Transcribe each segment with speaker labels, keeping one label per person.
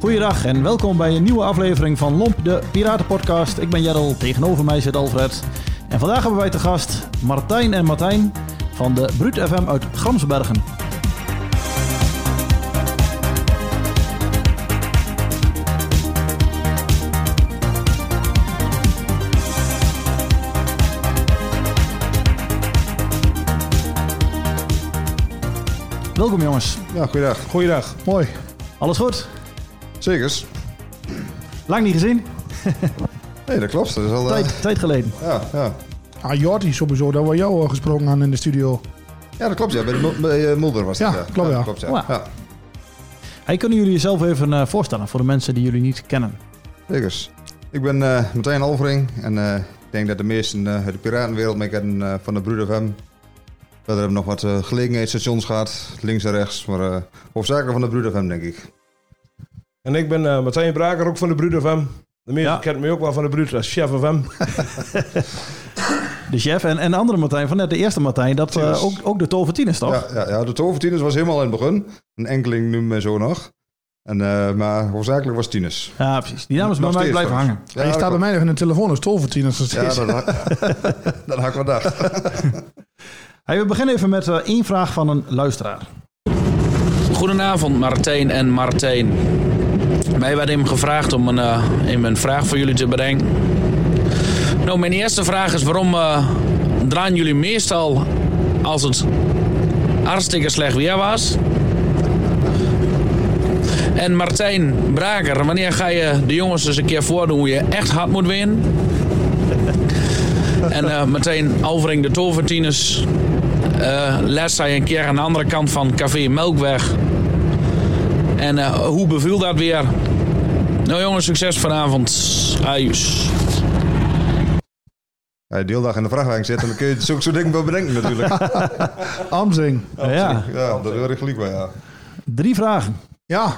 Speaker 1: Goeiedag en welkom bij een nieuwe aflevering van Lomp, de Piratenpodcast. Ik ben Jarl, tegenover mij zit Alfred. En vandaag hebben wij te gast Martijn en Martijn van de Bruut FM uit Gramsbergen. Welkom jongens,
Speaker 2: Ja, goeiedag. Goeiedag. Mooi.
Speaker 1: alles goed?
Speaker 2: Zekers.
Speaker 1: Lang niet gezien,
Speaker 2: Nee, dat klopt. Dat is al... eh,
Speaker 1: tijd, tijd geleden.
Speaker 2: ja, ja.
Speaker 3: Ah, Jordi sowieso, daar wordt jou eh, gesproken aan in de studio.
Speaker 2: ja, dat klopt. Ja. Bij, de, Mul- bij eh, Mulder was dat.
Speaker 3: Ja, klopt, ja.
Speaker 2: klopt, ja.
Speaker 1: Wow.
Speaker 2: ja.
Speaker 1: Hey, kunnen jullie jezelf even eh, voorstellen voor de mensen die jullie niet kennen?
Speaker 2: Zekers. Ik ben eh Martijn Alvering en eh, ik denk dat de meesten eh, uit de piratenwereld mij kennen eh, van de Broeder FM. Verder hebben we nog wat eh, gelegenheidsstations gehad, links en rechts, maar eh hoofdzakelijk van de Broeder FM, denk ik.
Speaker 4: En ik ben eh, Martijn Braker, ook van de Bruut FM. De meeste
Speaker 1: Ja.
Speaker 4: kent mij ook wel van de Bruut als chef FM.
Speaker 1: De chef en, en de andere Martijn van net, de eerste Martijn, dat eh,
Speaker 2: Tieners.
Speaker 1: ook, ook de tovertien is toch?
Speaker 2: Ja, ja, ja, de tovertieners was helemaal in het begin. Een enkeling noemde mij zo nog. En, eh, maar hoofdzakelijk was tieners.
Speaker 1: Ja, precies. Die naam is bij
Speaker 2: Nog
Speaker 1: mij
Speaker 2: steeds
Speaker 1: blijven
Speaker 2: trouwens.
Speaker 1: hangen.
Speaker 2: Ja,
Speaker 3: Hij
Speaker 2: dat
Speaker 3: staat bij
Speaker 2: klopt.
Speaker 3: mij nog in de telefoon als tolvertien als het
Speaker 2: Ja,
Speaker 3: is.
Speaker 2: dat, dat had ik wel dacht.
Speaker 1: Hey, we beginnen even met eh, één vraag van een luisteraar.
Speaker 5: Goedenavond Martijn en Martijn. Mij werd even gevraagd om een, eh, even een vraag voor jullie te brengen. Nou, mijn eerste vraag is waarom eh, draaien jullie meestal als het hartstikke slecht weer was? En Martijn Braker, wanneer ga je de jongens eens een keer voordoen hoe je echt hard moet winnen? En eh, Martijn Alvering, de tovertieners, eh laatst zei een keer aan de andere kant van Café Melkweg. En eh, hoe beviel dat weer? Nou jongens, succes vanavond. Adios.
Speaker 2: Ja, de hele dag in de vrachtwagen zitten, dan kun je het zo, zo ding wel bedenken natuurlijk.
Speaker 3: Amzing.
Speaker 1: ja,
Speaker 2: Ja, dat is heel erg gelijk wel, ja.
Speaker 1: drie vragen.
Speaker 3: Ja.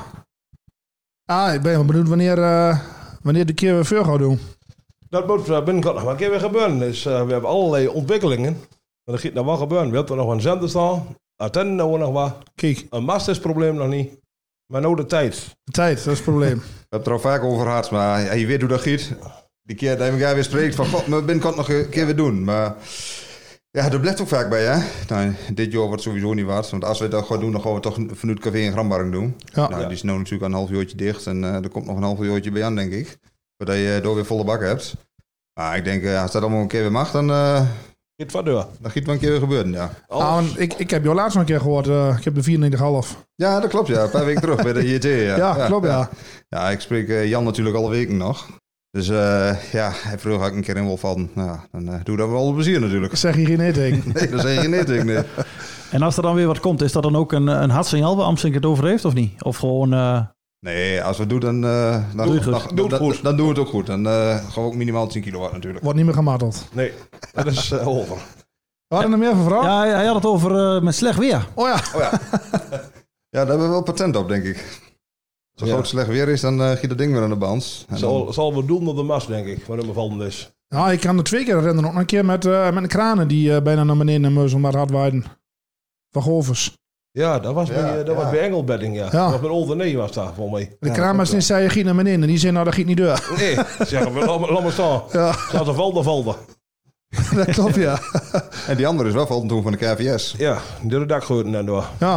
Speaker 3: Ah, ik ben wel benieuwd wanneer, eh, wanneer de keer weer veel gaat doen.
Speaker 4: Dat moet eh, binnenkort nog maar een keer weer gebeuren. Dus eh, we hebben allerlei ontwikkelingen. Maar dat gaat nog wel gebeuren. We hebben er nog een zender staan. Attenden nou nog wat.
Speaker 3: Kijk,
Speaker 4: Een mast is het probleem nog niet. Maar nou de tijd.
Speaker 3: de tijd, dat is het probleem.
Speaker 2: We hebben het er al vaak over gehad, maar ja, je weet hoe dat giet. Die keer dat je elkaar weer spreekt van, god, maar binnenkort nog een keer weer doen. Maar ja, dat blijft ook vaak bij, hè. Nou, dit jaar wordt het sowieso niet wat. Want als we dat gaan doen, dan gaan we toch vanuit Café in Grambarring doen.
Speaker 3: Ja.
Speaker 2: Nou, die is nou natuurlijk een half uurtje dicht en eh, er komt nog een half uurtje bij aan, denk ik. Voordat je eh, door weer volle bak hebt. Maar ik denk, eh, als dat allemaal een keer weer mag, dan, eh
Speaker 4: Gaat van deur.
Speaker 2: dan giet het wel een keer weer gebeuren, ja.
Speaker 3: Ah, want ik, ik heb jou laatst nog een keer gehoord. eh, ik heb de 94 half.
Speaker 2: Ja, dat klopt, ja. Een paar weken terug bij de JT, ja.
Speaker 3: Ja, klopt ja.
Speaker 2: Ja, ik spreek eh, Jan natuurlijk alle weken nog. Dus eh, ja, hij vroeg had ik een keer in wil van. Nou, dan eh, doe dat wel alle plezier natuurlijk.
Speaker 3: Ik zeg hier geen nee
Speaker 2: Nee, dat zeg je niet, ik nee.
Speaker 1: En als er dan weer wat komt, is dat dan ook een, eh, een hard signaal waar Amstink het over heeft of niet? Of gewoon... eh,
Speaker 2: Nee, als we het doen, dan, eh, dan,
Speaker 1: Doe het goed.
Speaker 2: dan,
Speaker 4: Doe
Speaker 2: dan-
Speaker 4: het goed.
Speaker 2: dan doen we het ook goed. Dan eh gaan we ook minimaal 10 kilowatt natuurlijk.
Speaker 3: Wordt niet meer gematteld.
Speaker 4: Nee, dat is eh, over.
Speaker 3: Waren er meer van vragen?
Speaker 1: ja, hij- hij had het over eh, met slecht weer.
Speaker 3: Oh ja.
Speaker 2: Oh ja. ja, daar hebben we wel patent op, denk ik. Als het
Speaker 4: Ja.
Speaker 2: groot slecht weer is, dan eh giet dat ding weer aan de band. En dan-
Speaker 4: Zal, zal we doen op de mast, denk ik. Waarom we vallen dus.
Speaker 3: Ja, Ah, ik kan er twee keer rennen. Nog een keer met, eh, met een kranen die eh, bijna naar beneden en muis omdat hard waaiden. Van Govers.
Speaker 4: Ja, dat was,
Speaker 2: Ja,
Speaker 4: bij, eh, dat
Speaker 2: ja.
Speaker 4: was bij Engelbedding, ja.
Speaker 3: Ja.
Speaker 4: Dat was bij Oldenee was daar, volgens mij.
Speaker 3: De kramers die zei, giet naar beneden. En die zei, nou dat giet niet door.
Speaker 4: Nee, zeggen we, laat maar- laat maar staan.
Speaker 3: Ja.
Speaker 4: Laat de valde valde.
Speaker 3: Dat klopt, ja.
Speaker 2: En die andere is wel van toen van de KVS.
Speaker 4: Ja, door de dak gooien en door.
Speaker 3: Ja.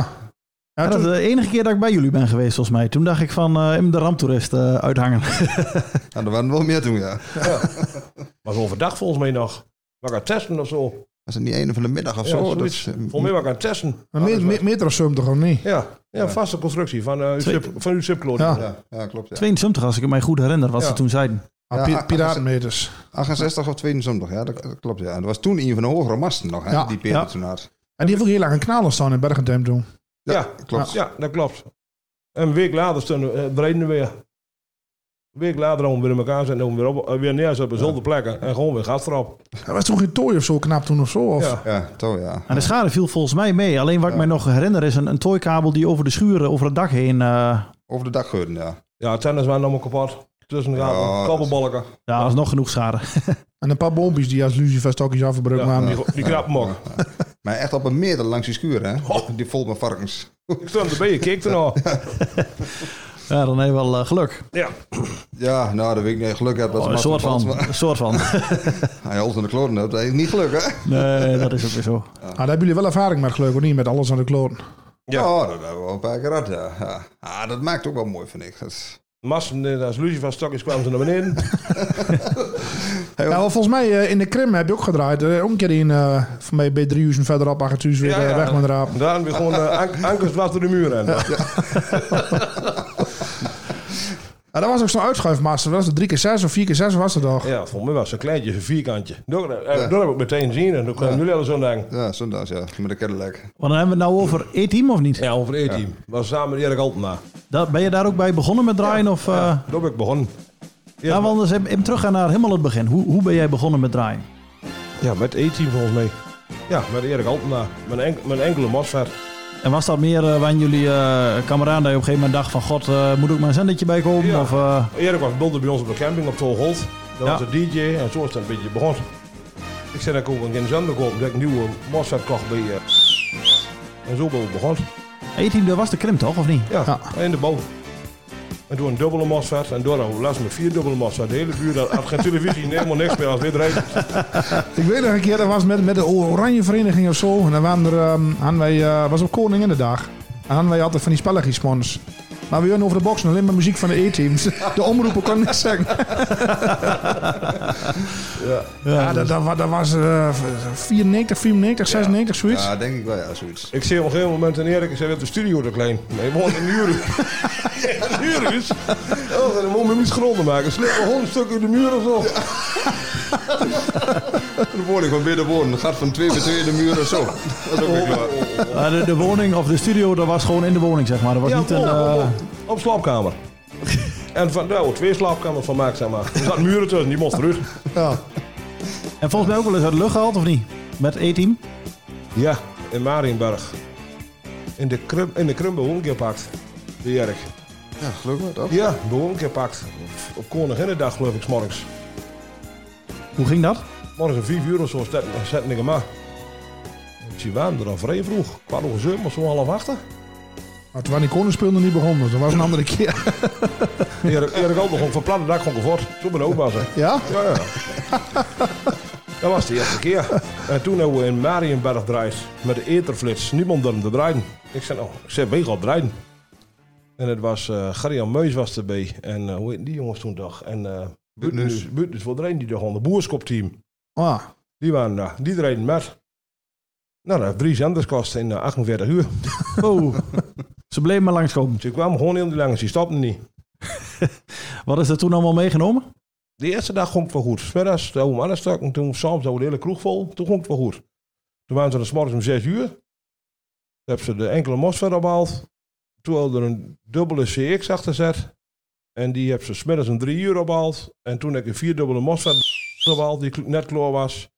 Speaker 3: Ja,
Speaker 1: Ja, dat
Speaker 3: toen-
Speaker 1: is de enige keer dat ik bij jullie ben geweest, volgens mij. Toen dacht ik van, eh, in de ramptoerist eh, uithangen.
Speaker 2: Nou, er waren er wel meer toen, ja.
Speaker 4: Was overdag volgens mij nog. Was ik aan het testen of zo.
Speaker 2: Was het niet een van de middag of
Speaker 4: Ja,
Speaker 2: zo?
Speaker 4: zoiets.
Speaker 2: Dat, eh,
Speaker 4: Volgens mij was ik aan het testen.
Speaker 3: maar me- me- Metrosum toch of niet?
Speaker 4: Ja, ja, vaste constructie van, eh uw,
Speaker 1: Twee-
Speaker 4: sub, van uw subkloot.
Speaker 3: Ja.
Speaker 2: ja, ja, klopt. Ja.
Speaker 1: 72, als ik het mij goed herinner, wat
Speaker 4: Ja.
Speaker 1: ze toen zeiden.
Speaker 3: Ah,
Speaker 2: Ja,
Speaker 3: pi-
Speaker 2: ah, ah,
Speaker 3: piratenmeters.
Speaker 2: 68 of 72, ja, dat, dat klopt. Ja. En dat was toen een van de hogere masten nog, hè,
Speaker 3: Ja,
Speaker 2: die Peter
Speaker 1: ja.
Speaker 2: toen had.
Speaker 3: En die heeft ook heel lang een kanaal staan in Bergendem toen.
Speaker 4: Ja.
Speaker 2: klopt.
Speaker 4: Ja, dat klopt. En een week later stonden, eh, draaiden we weer. Een week later om weer in elkaar zetten en om weer, op, eh, weer neerzetten op dezelfde plekken. En gewoon weer gas erop.
Speaker 3: Er was toch geen tooi of zo knap toen of zo? Of?
Speaker 4: Ja.
Speaker 2: Ja, toch ja.
Speaker 1: En de schade viel volgens mij mee. Alleen wat ik mij nog herinner is een, een tooikabel die over de schuren, over het dak heen. eh
Speaker 2: Over de dag geurden, ja.
Speaker 4: Ja, tennis waren allemaal kapot. Tussen de
Speaker 2: Ja,
Speaker 4: gaten,
Speaker 2: dat-
Speaker 4: kabbelbalken.
Speaker 1: ja, dat is nog genoeg schade.
Speaker 3: En een paar boompjes die als luciferstokjes afgebruikt
Speaker 4: Ja,
Speaker 3: waren.
Speaker 4: Die, die krap mok.
Speaker 2: Maar echt op een meter langs die schuur, hè? Die vol met varkens.
Speaker 4: Ik stond erbij, ik keek er nog.
Speaker 1: Ja, dan heb je wel eh, geluk.
Speaker 4: Ja,
Speaker 2: Ja, nou, dat weet ik niet. Geluk heb dat
Speaker 1: Oh,
Speaker 2: ze
Speaker 1: een
Speaker 2: maar
Speaker 1: soort
Speaker 2: valt,
Speaker 1: van.
Speaker 2: maar-
Speaker 1: Een soort van.
Speaker 2: Hij holt in de kloten hebt, dat heeft niet geluk, hè?
Speaker 1: Nee, dat is ook weer zo.
Speaker 3: Ah, daar hebben jullie wel ervaring met geluk, of niet? Met alles aan de kloten.
Speaker 4: Ja.
Speaker 2: Ja, Oh, dat hebben we wel een paar keer gehad, ja. ja. Ah, dat maakt ook wel mooi, vind ik. Dat is-
Speaker 4: Mas, eh, als Lucifer stokjes kwamen ze naar beneden.
Speaker 2: Ja.
Speaker 3: Ja, wel, volgens mij eh, in de Krim heb je ook gedraaid. Eh, ook een keer in, eh van mij bij driehuizen verderop, achterhuis weer
Speaker 4: Ja,
Speaker 3: eh,
Speaker 4: ja.
Speaker 3: weg met de raap.
Speaker 4: Daar weer gewoon eh, ank- ankers dwars door de muur en.
Speaker 3: Ja, dat was ook zo'n uitschuifmaster. Dat was het drie keer zes of vier keer zes was het toch?
Speaker 4: Ja, voor mij was het een kleintje, een vierkantje. Dat, eh, dat heb ik meteen zien en dan kwamen jullie al zo denken.
Speaker 2: Ja, zondags, ja. Met de Cadillac.
Speaker 1: Want dan hebben we het nou over E-team of niet?
Speaker 4: Ja, over het E-team. Was samen met Erik Altena.
Speaker 1: Da- ben je daar ook bij begonnen met draaien? Of, eh ja,
Speaker 4: Daar ben ik begonnen. Ja,
Speaker 1: want anders even, even teruggaan naar helemaal het begin. Hoe, hoe ben jij begonnen met draaien?
Speaker 4: ja, met E-team volgens mij. Ja, met Erik Altena. Mijn, enk- mijn enkele mosver.
Speaker 1: En was dat meer eh van jullie eh kameraden dat je op een gegeven moment dacht van... God, eh, moet ook maar een zendertje bij komen?
Speaker 4: Ja.
Speaker 1: Of, eh,
Speaker 4: Erik was bulder bij ons op de camping op Tolholt. Dat
Speaker 1: Ja.
Speaker 4: was de DJ en zo is het een beetje begonnen. Ik zei dat ik ook een zender kopen, dat ik een nieuwe mosver kocht bij... eh, en zo ben ik begonnen.
Speaker 1: E-team, dat was de krim toch, of niet?
Speaker 4: Ja,
Speaker 3: Ja.
Speaker 4: in de bouw. En toen een dubbele mosfet en door een last met vier dubbele mosfet. De hele buurt had had geen televisie, helemaal niks meer als dit rijdt.
Speaker 3: Ik weet nog een keer, dat was met, met de Oranje Vereniging of zo. En dan waren er, ehm, hadden wij, eh, was op Koninginnedag. En hadden wij altijd van die spelletjes Maar we hadden over de boxen alleen maar muziek van de E-teams. De omroepen kon niks zeggen. Ja, dus- dat, dat, wa- dat was eh 94, 94, 96, zoiets.
Speaker 2: Ja, denk ik wel, ja, zoiets.
Speaker 4: Ik zei op een gegeven moment en Erik, ik zei dat de studio te klein. Nee, we wonen in Juris. in Juris? Oh, dan moet je niet gronden maken. Slip een hond stuk in de muur of zo.
Speaker 2: Dan word ik gewoon weer de woorden. Dat gaat van twee bij twee de muur of zo. Oh. Dat is ook weer klaar.
Speaker 1: Eh, de, de woning of de studio, dat was gewoon in de woning, zeg maar. Dat was
Speaker 4: Ja,
Speaker 1: niet een...
Speaker 4: op, op,
Speaker 1: eh,
Speaker 4: op, op slaapkamer. En van, nou, twee slaapkamers van maak, zeg maar. Er zaten muren tussen, die mocht eruit.
Speaker 1: en volgens mij ook wel eens uit de lucht gehaald, of niet? Met E-team?
Speaker 4: Ja, in Marienberg. In de, krum, in de Krum begon gepakt, de Erik.
Speaker 2: Ja, gelukkig wel, toch?
Speaker 4: Ja, begon gepakt. Op, op Koninginnedag geloof ik, 's morgens.
Speaker 1: Hoe ging dat?
Speaker 4: Morgen om vijf uur of zo zetten zetten ik hem aan. Ze waren er al vrij vroeg. Kwart over zeven of zo half achter.
Speaker 3: Maar toen waren die koningspeelden niet begonnen. dus Dat was een andere keer.
Speaker 4: Erik, Erik al begon van platte dak gewoon gevoerd. Zo ben ik ook was hè.
Speaker 3: Ja?
Speaker 4: Ja, ja. Dat was de eerste keer. En toen hebben we in Marienberg gedraaid met de eterflits. Niemand durfde te draaien. Ik zei, nou, ik zei, we gaan draaien. En het was, eh Gerjan Meus was erbij. En eh, hoe heet die jongens toen toch? En eh Buutnus. Buutnus voor iedereen die er gewoon, de boerskopteam.
Speaker 3: Ah,
Speaker 4: Die waren, eh, die draaiden met. Nou, dat heeft drie zenders kost in eh, 48 uur.
Speaker 1: Oh, ze bleven maar langskomen.
Speaker 4: Dus ik kwam gewoon heel die langs, die stopten niet.
Speaker 1: Wat is er toen allemaal meegenomen?
Speaker 4: De eerste dag ging het wel goed. Smiddags de we alles stuk en toen s'avonds hadden we de hele kroeg vol. Toen ging het wel goed. Toen waren ze er s'morgens om zes uur. Toen hebben ze de enkele mos verder opgehaald. Toen hadden we er een dubbele CX achter gezet. En die hebben ze smiddags om drie uur opgehaald. En toen heb ik een vierdubbele mos verder opgehaald die kl- net klaar was.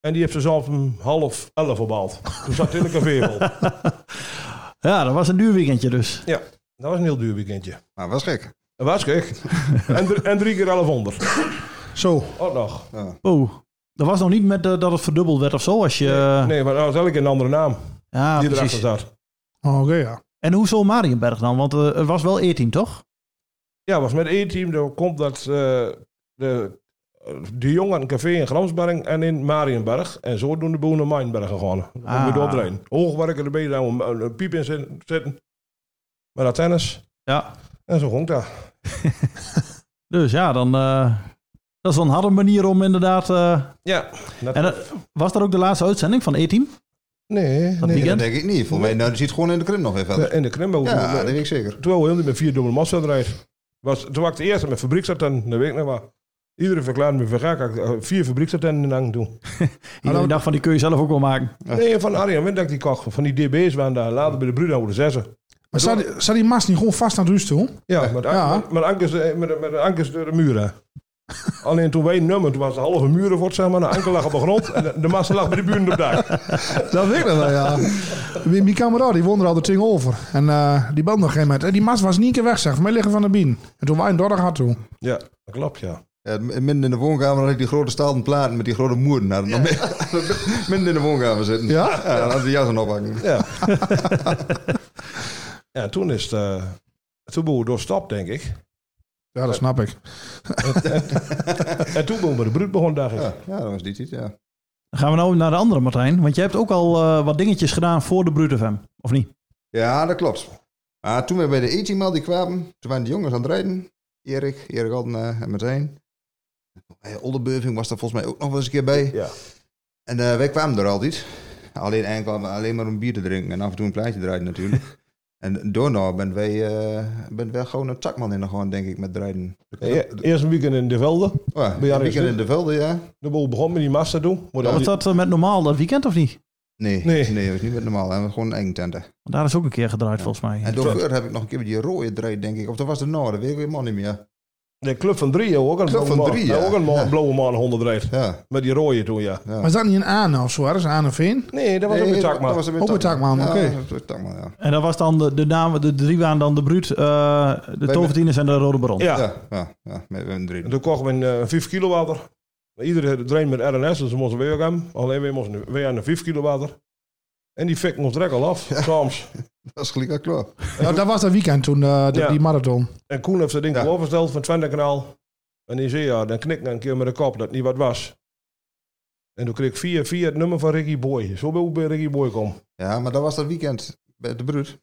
Speaker 4: En die hebben ze s'avonds om half elf opgehaald. Toen zat het in een vevel.
Speaker 1: Ja, dat was een duur weekendje dus.
Speaker 4: Ja, dat was een heel duur weekendje.
Speaker 2: Maar was gek.
Speaker 4: Dat was gek. En, dr- en drie keer 1100.
Speaker 3: zo.
Speaker 4: Ook nog.
Speaker 1: Oh, dat was nog niet met eh, dat het verdubbeld werd of zo. Als je, eh,
Speaker 4: Nee, maar dat was elke keer een andere naam
Speaker 1: ja,
Speaker 4: die
Speaker 1: precies.
Speaker 4: erachter zat.
Speaker 3: Oh, Oké, ja.
Speaker 1: En hoezo Marienberg dan? Want eh, het was wel E-team, toch?
Speaker 4: Ja, was met één team. Dan komt dat eh, de, de jongen had een café in Gramsberg en in Marienberg. En zo doen de boeren naar Mijnbergen gewoon. Om
Speaker 1: Ah.
Speaker 4: weer door te rijden. Hoogwerken erbij, daar een, een piep in zitten. zitten. Maar dat tennis.
Speaker 1: Ja.
Speaker 4: En zo ging dat.
Speaker 1: Dus ja, dan... eh, dat is wel een harde manier om inderdaad... eh,
Speaker 4: Ja. Dat,
Speaker 1: en eh, was dat ook de laatste uitzending van E-team?
Speaker 4: nee,
Speaker 1: Dat
Speaker 4: nee.
Speaker 2: Dat
Speaker 1: weekend?
Speaker 2: denk ik niet. Volgens mij, nou, die ziet gewoon in de krim nog weer verder.
Speaker 4: Ja, In de Krimbo.
Speaker 2: Ja, dat weet ik zeker.
Speaker 4: Terwijl we heel die met vier dubbele massa eruit. Was, toen was ik de eerste met fabrieksatten, dat weet ik nog wel. Iedereen verklaarde me van gek, had ik, eh, vier fabrieksatten in de hang doen.
Speaker 1: Iedereen dacht van, die kun je zelf ook wel maken.
Speaker 4: Nee, van Arjen Windek die kocht, van die DB's waren daar, later bij de Bruno de zessen.
Speaker 3: Maar zou die, zou die mast niet gewoon vast aan het rust toe?
Speaker 4: Ja, met,
Speaker 3: Ja.
Speaker 4: met, met, ankers, eh, met, met ankers door de muren. Alleen toen wij nummer, toen was de halve muren wordt, zeg maar. De anker lag op de grond en de, de mast lag bij de buren op het dak.
Speaker 3: Dat weet ik nog wel, ja. Wie- Mijn kameraad, die won er al de ting over. En eh, die band nog geen met. En die mast was niet een keer weg, zeg. Voor mij liggen van de bien. En toen wij een dorder had toe.
Speaker 4: Ja, dat klopt, ja.
Speaker 2: Ja, midden in de woonkamer had ik die grote stalen platen met die grote moeren. Had ik nog mee- midden in de woonkamer zitten.
Speaker 3: Ja?
Speaker 2: ja dan had ik de jas aan ophangen.
Speaker 4: Ja. ja, toen is het... eh, toen boeren doorstapt, denk ik.
Speaker 3: Ja, dat snap ik.
Speaker 4: En toen boeren we de bruut begon, dacht ik.
Speaker 2: Ja, ja, dat was die tijd, ja.
Speaker 1: Dan gaan we nou naar de andere Martijn. Want jij hebt ook al eh, wat dingetjes gedaan voor de Brute FM. Of niet?
Speaker 2: Ja, dat klopt. Maar toen we bij de e al die kwamen, toen waren de jongens aan het rijden. Erik, Erik Altenaar en Martijn. Hey, Oldenburving was daar volgens mij ook nog wel eens een keer bij.
Speaker 4: Ja.
Speaker 2: En eh, wij kwamen er altijd. Alleen, eigenlijk kwamen we alleen maar om bier te drinken en af en toe een plaatje te rijden natuurlijk. en doorna ben wij, eh, ben wij gewoon een takman in de gewoon, denk ik, met rijden.
Speaker 4: E- Eerst een weekend in de velden.
Speaker 2: Oh, ja,
Speaker 4: Ben jij
Speaker 2: een weekend
Speaker 4: er-
Speaker 2: in de velden, ja.
Speaker 4: De boel begon met die massa doen. Maar
Speaker 1: Was dat eh, met normaal dat weekend of niet?
Speaker 2: Nee,
Speaker 4: Nee.
Speaker 2: nee. dat is niet met normaal. hè. We gewoon eng tenten.
Speaker 1: Want daar is ook een keer gedraaid volgens mij.
Speaker 2: En door geur heb ik nog een keer met die rode draai, denk ik. Of dat was de Noorden, weet ik helemaal niet meer.
Speaker 4: de club van drie, ook een
Speaker 2: Club
Speaker 4: blauwe
Speaker 2: van
Speaker 4: man.
Speaker 2: drie, ja.
Speaker 4: ook een man,
Speaker 2: Ja.
Speaker 4: blauwe man honderdreed.
Speaker 2: Ja.
Speaker 4: Met die rode toen, ja.
Speaker 3: Maar is dat niet een Aan of zo? hè? Dat is een Aan of Veen?
Speaker 4: Nee, dat was ook
Speaker 2: Nee,
Speaker 4: een tak,
Speaker 2: dat
Speaker 4: man.
Speaker 2: was een
Speaker 3: Ook een takman,
Speaker 2: Ja,
Speaker 3: oké.
Speaker 2: dat was een takman, ja.
Speaker 1: En dat was dan de, de naam, de drie waren dan de Bruut, eh, de
Speaker 2: Wij-
Speaker 1: Tovertieners en de Rode Baron.
Speaker 4: Ja.
Speaker 2: Ja, ja, ja, met een
Speaker 4: En
Speaker 2: drie.
Speaker 4: toen kochten we een eh, 5 kilo water. Iedere drain met RNS, dus we moesten weer ook hem. Alleen we moesten weer aan een 5 kilo water. En die fik ons direct al af, soms.
Speaker 2: Dat is gelijk al klaar.
Speaker 3: Ja, dat was dat weekend toen, eh, de-
Speaker 4: Ja.
Speaker 3: die marathon.
Speaker 4: En Koen heeft dat ding
Speaker 2: Ja.
Speaker 4: overgesteld van Twente kanaal. En die zei ja, dan knikte een keer met de kop dat het niet wat was. En toen kreeg ik via, via het nummer van Ricky Boy. Zo ben ik bij Ricky Boy kom.
Speaker 2: Ja, maar dat was dat weekend bij de broed.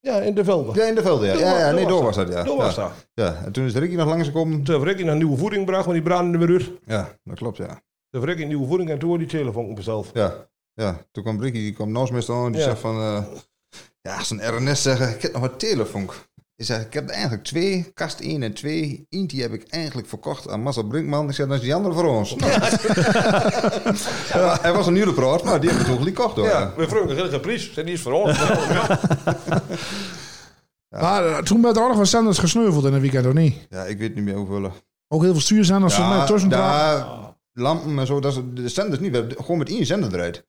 Speaker 4: Ja, in de velden.
Speaker 2: Ja, in de velden, ja.
Speaker 4: Door-
Speaker 2: Ja, ja, nee,
Speaker 4: door
Speaker 2: door
Speaker 4: was
Speaker 2: was dat, ja.
Speaker 4: Toen
Speaker 2: ja.
Speaker 4: was dat.
Speaker 2: Ja, en toen is Ricky nog langsgekomen.
Speaker 4: Toen heeft Ricky een nieuwe voeding gebracht, want die brandde weer uit. Toen
Speaker 2: Ja, dat klopt, ja.
Speaker 4: heeft Ricky een nieuwe voeding en toen had die telefoon besteld.
Speaker 2: Ja, ja. toen kwam Ricky, die kwam naast mij staan en die
Speaker 4: Ja.
Speaker 2: zegt van... eh, ja, zijn RNS zeggen, ik heb nog wat telefunk. Ik zeg, ik heb er eigenlijk twee, kast 1 en 2. Eentje heb ik eigenlijk verkocht aan Massa Brinkman. Ik zeg, dat is die andere voor ons. Nou. Ja, hij was een nieuwe praat, maar die hebben we toen gelijk gekocht hoor.
Speaker 4: Ja,
Speaker 2: Ja.
Speaker 4: we vroegen geen prijs. Zei, Die is voor ons.
Speaker 3: Maar eh, toen werd er ook nog wat zenders gesneuveld in het weekend, of niet?
Speaker 2: ik weet niet meer hoeveel.
Speaker 3: Ook heel veel stuurzenders. volgens mij tussen
Speaker 2: daar, lampen en zo, dat is, de zenders niet. We hebben gewoon met één zender eruit.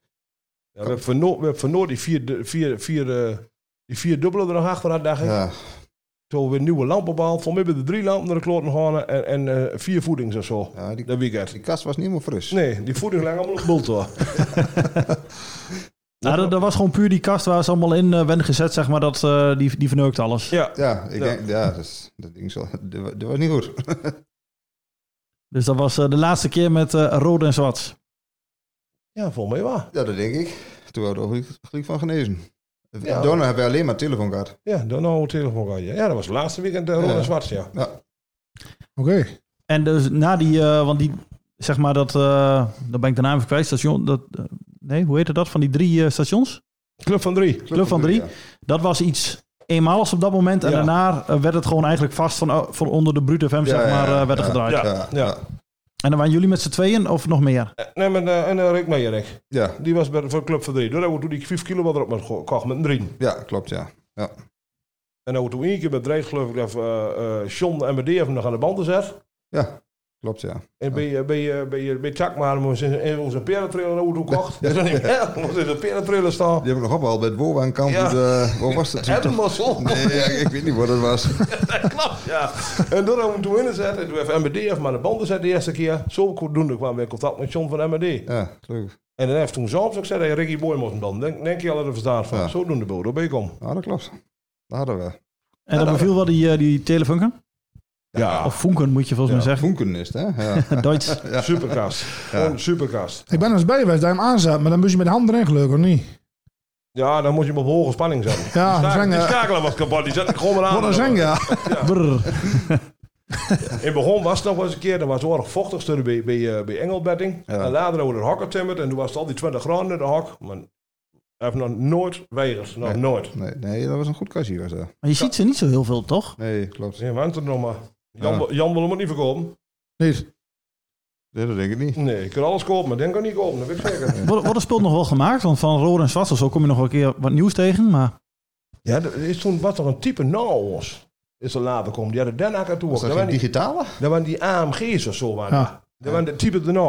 Speaker 4: Ja, we hebben van Noord, we hebben van Noord die, vier, de- vier, vier, eh, die vier dubbele er nog achter had, dacht ik.
Speaker 2: Ja,
Speaker 4: Toen weer nieuwe lampen behaald. Voor mij hebben de drie lampen naar de kloten gegaan en, en eh, vier voedings en zo.
Speaker 2: ja die,
Speaker 4: Dat weekend.
Speaker 2: die kast was niet helemaal fris.
Speaker 4: Nee, die voeding lag allemaal op bult hoor.
Speaker 1: Nou, dat, dat was gewoon puur die kast waar ze allemaal in eh werden gezet, zeg maar, dat, eh, die, die verneukt alles.
Speaker 4: Ja.
Speaker 2: Ja, ik
Speaker 4: Ja.
Speaker 2: denk, ja, dat, is- dat ding zal, dat, wa- dat was niet goed.
Speaker 1: Dus dat was eh, de laatste keer met eh rood en zwart.
Speaker 4: ja, volgens mij waar.
Speaker 2: Ja, dat denk ik. Toen hadden we er gelijk- gelijk van genezen.
Speaker 4: Ja.
Speaker 2: Daarna hebben we alleen maar telefoon gehad.
Speaker 4: Ja, dan nou een telefoon gehad. Ja, Ja, dat was het laatste weekend uh, Ron
Speaker 2: Ja.
Speaker 4: en Zwart, ja.
Speaker 3: Oké.
Speaker 1: En dus na die, eh, want die, zeg maar dat, eh dan ben ik de naam even kwijt, station, dat, eh, nee, hoe heette dat, van die drie eh, stations?
Speaker 4: Club van drie.
Speaker 1: Club van drie.
Speaker 2: Ja.
Speaker 1: Dat was iets eenmaals op dat moment en
Speaker 4: Ja.
Speaker 1: daarna eh, werd het gewoon eigenlijk vast van, oh, van onder de Brute FM, zeg
Speaker 2: ja,
Speaker 1: maar, eh,
Speaker 2: ja,
Speaker 1: werd er
Speaker 2: ja.
Speaker 1: gedraaid.
Speaker 4: Ja.
Speaker 2: Ja, ja.
Speaker 1: En dan waren jullie met z'n tweeën of nog meer?
Speaker 4: Eh, Nee, maar, eh, en eh, Rick Meijerink.
Speaker 2: Ja,
Speaker 4: Die was bij, voor Club van drie. Daar hebben we toen die 5 kilo wat erop met gekocht met een drie.
Speaker 2: ja, klopt, ja.
Speaker 4: En dan hebben we toen één keer met Dreig, geloof ik, dat eh eh John en Medeer nog aan de banden zet.
Speaker 2: Ja, klopt, ja.
Speaker 4: En bij, eh, bij, eh, bij, eh, bij Takma hebben we onze- onze perentrailer ook toen kocht. Dat is niet meer. We moeten de perentrailer staan.
Speaker 2: Die heb ik nog opgehaald bij het Wowa aan kant.
Speaker 4: Ja.
Speaker 2: eh, waar was dat?
Speaker 4: Helemaal zo.
Speaker 2: Nee, ja, ik weet niet wat dat was.
Speaker 4: Klopt, ja. En toen hebben we hem toen ingezet. En toen heeft MBD even maar de banden zet de eerste keer. Zo doen kwamen we in contact met John van MBD.
Speaker 2: Ja, leuk.
Speaker 4: En dan heeft toen zelfs ook gezegd, hey, Ricky Boy moest hem dan. Denk, denk je al dat er verstaat van.
Speaker 2: Ja.
Speaker 4: Zo doen de boel, daar ben ik om.
Speaker 2: Ja, Ah, dat klopt. Dat hadden we.
Speaker 1: En dan beviel wel die, eh, die telefunken?
Speaker 4: Ja,
Speaker 1: Of funken moet je volgens
Speaker 4: Ja,
Speaker 1: mij zeggen.
Speaker 2: Funken is het, hè? Ja.
Speaker 1: Duits.
Speaker 4: superkast. Gewoon superkast.
Speaker 3: Ik ben er eens bij geweest, daar hem aanzet. Maar dan moest je met de hand erin gelukkig, of niet?
Speaker 4: Ja, dan moet je hem op hoge spanning zetten.
Speaker 3: Ja,
Speaker 4: die, schakel-
Speaker 3: zang,
Speaker 4: die
Speaker 3: eh,
Speaker 4: schakelaar was kapot, die zet ik gewoon maar aan.
Speaker 3: Wat een zang, ja.
Speaker 1: Brrr.
Speaker 4: In het begin was het nog wel eens een keer, dan was het erg vochtig toen bij, bij, eh, bij Engelbedding.
Speaker 2: Ja.
Speaker 4: En later hadden we de hok getimmerd en toen was het al die 20 graden in de hok. Maar hij heeft nog nooit weigerd, nog
Speaker 2: Nee.
Speaker 4: nooit.
Speaker 2: Nee, nee, dat was een goed kastje, was dat.
Speaker 1: Maar je ziet ze niet zo heel veel, toch?
Speaker 2: Nee, klopt.
Speaker 4: Ja, we Dus er nog maar. Jan,
Speaker 2: Ja.
Speaker 4: wil- Jan wil hem ook niet verkopen.
Speaker 3: Nee.
Speaker 2: Nee, dat denk ik niet.
Speaker 4: Nee, ik kan alles kopen, maar denk kan niet kopen, dat weet ik zeker.
Speaker 1: Wordt wordt er spul nog wel gemaakt? Want van Roor en Zwart of zo kom je nog wel een keer wat nieuws tegen. Maar
Speaker 4: Ja, er is toen was er een type Naos. Is er later komen. Die hadden daarna naartoe.
Speaker 2: Was
Speaker 4: Daar
Speaker 2: dat
Speaker 4: waren
Speaker 2: geen
Speaker 4: die-
Speaker 2: digitale?
Speaker 4: daar waren die AMG's of zo. Waren.
Speaker 3: Ja.
Speaker 4: Dat waren de type daarna.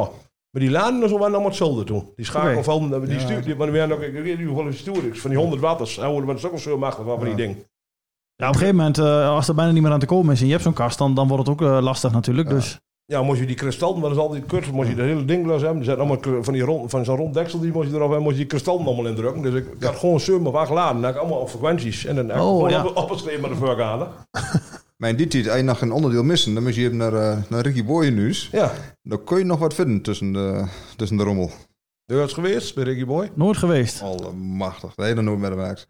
Speaker 4: Maar die laden en zo waren allemaal hetzelfde toen. Die schakel
Speaker 3: Oké.
Speaker 4: van, die stuur, die, want we hadden ook, ik weet niet hoeveel die stuur is, van die 100 watters. Nou, dat was ook al zo makkelijk, van die ding.
Speaker 1: Ja, op een gegeven moment, eh, als er bijna niet meer aan te komen is en je hebt zo'n kast, dan, dan wordt het ook eh, lastig natuurlijk. Dus
Speaker 4: Ja, moest je die kristallen, maar dat is altijd kut, moest je dat hele ding los hebben. Er zijn allemaal kru- van, die rond, van zo'n rond deksel, die moest je eraf hebben, moest je die kristallen allemaal indrukken. Dus ik, ik had gewoon 7 of 8 laden, dan had ik allemaal op frequenties. En dan heb ik
Speaker 1: Oh,
Speaker 4: gewoon
Speaker 1: ja.
Speaker 4: op, opgeschreven met de voorgaande.
Speaker 2: Maar in die tijd, als je nog een onderdeel missen, dan moet je even naar, eh, naar Ricky Boyen nieuws.
Speaker 4: Ja,
Speaker 2: Dan kun je nog wat vinden tussen de, tussen de rommel.
Speaker 4: dat is geweest bij Ricky Boy.
Speaker 1: nooit geweest.
Speaker 2: Allemachtig. Dat heet dan nooit met de max.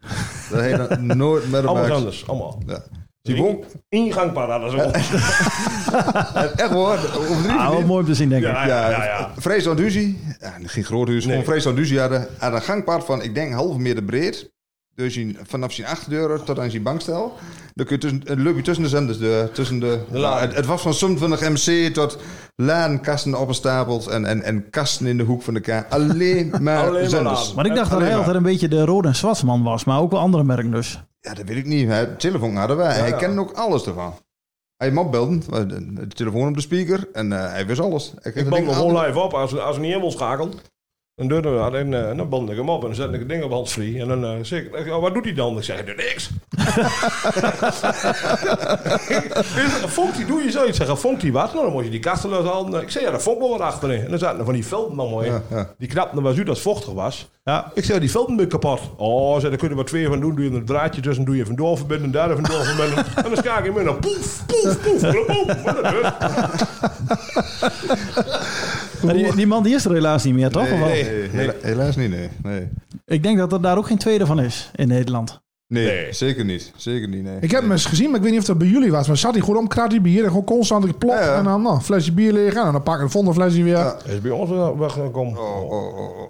Speaker 2: Dat heet dan nooit met de
Speaker 4: Allemaal
Speaker 2: max.
Speaker 4: anders, allemaal.
Speaker 2: Ja.
Speaker 4: Die won. Ingangparade, zo.
Speaker 2: Echt hoor, over drie
Speaker 1: Ah, wel mooi om te zien, denk ik.
Speaker 4: Ja,
Speaker 2: Ja,
Speaker 4: ja, ja, ja.
Speaker 2: Vrees aan Duzie. Ja, geen groot huis. Gewoon Vrees aan Duzie hadden had een gangpad van, ik denk, halve meter breed. Dus je- vanaf zijn achterdeur tot aan zijn bankstel. Dan kun je tussen, een loop je tussen de zenders. De, tussen de,
Speaker 4: laden.
Speaker 2: het, het was van 27 MC tot laankasten opgestapeld en, en, en kasten in de hoek van de kaart. Alleen maar
Speaker 4: Alleen maar
Speaker 2: zenders.
Speaker 4: laden.
Speaker 1: Maar ik dacht dat
Speaker 2: Alleen
Speaker 1: hij
Speaker 2: maar.
Speaker 1: altijd een beetje de rode en zwartsman was, maar ook wel andere merken dus.
Speaker 2: Ja, dat weet ik niet. Hij, telefoon hadden wij. hij
Speaker 4: ja.
Speaker 2: kende ook alles ervan. Hij hem opbelden, eh, de- de telefoon op de speaker en eh, hij wist alles. Hij kreeg
Speaker 4: Ik
Speaker 2: dat
Speaker 4: band
Speaker 2: ding
Speaker 4: hem gewoon
Speaker 2: aan-
Speaker 4: live op. Als, als hij niet helemaal schakelt, dan, doe ik hem aan en, eh, dan band ik hem op en dan zet ik het ding op handsfree. En dan eh, zeg ik, eh, wat doet hij dan? Ik zeg, hij doet niks. Vonk die doe je zoiets. Zeggen, vonk die wat? Nou, dan moet je die kasten loshalen. Ik zeg, ja, daar vonk wel wat achterin. En dan zaten er van die velden allemaal in.
Speaker 2: Ja, ja.
Speaker 4: Die knapten was u dat het vochtig was.
Speaker 1: Ja.
Speaker 4: Ik zeg, die velden ben kapot. Oh, zeg, daar kun je wat twee van doen. Doe je een draadje tussen, doe je vandoor verbinden, daar even door verbinden. en dan schaak je hem in. Dan poef, poef, poef. oh, boem, Wat een deur.
Speaker 1: Maar die, die man die is er helaas niet meer, toch? Of wel?
Speaker 2: Nee, hela- helaas niet, nee. nee.
Speaker 1: Ik denk dat er daar ook geen tweede van is in Nederland.
Speaker 2: Nee, zeker niet. Zeker niet, nee.
Speaker 3: Ik heb hem eens gezien, maar ik weet niet of dat bij jullie was. Maar zat hij gewoon om, krat die bier en gewoon constant geplot.
Speaker 2: Ja, ja.
Speaker 3: En dan nou, een flesje bier leeg en dan pak ik een volgende flesje weer.
Speaker 2: Ja.
Speaker 4: Hij is bij ons wel weggekomen.
Speaker 2: Oh, oh, oh, oh.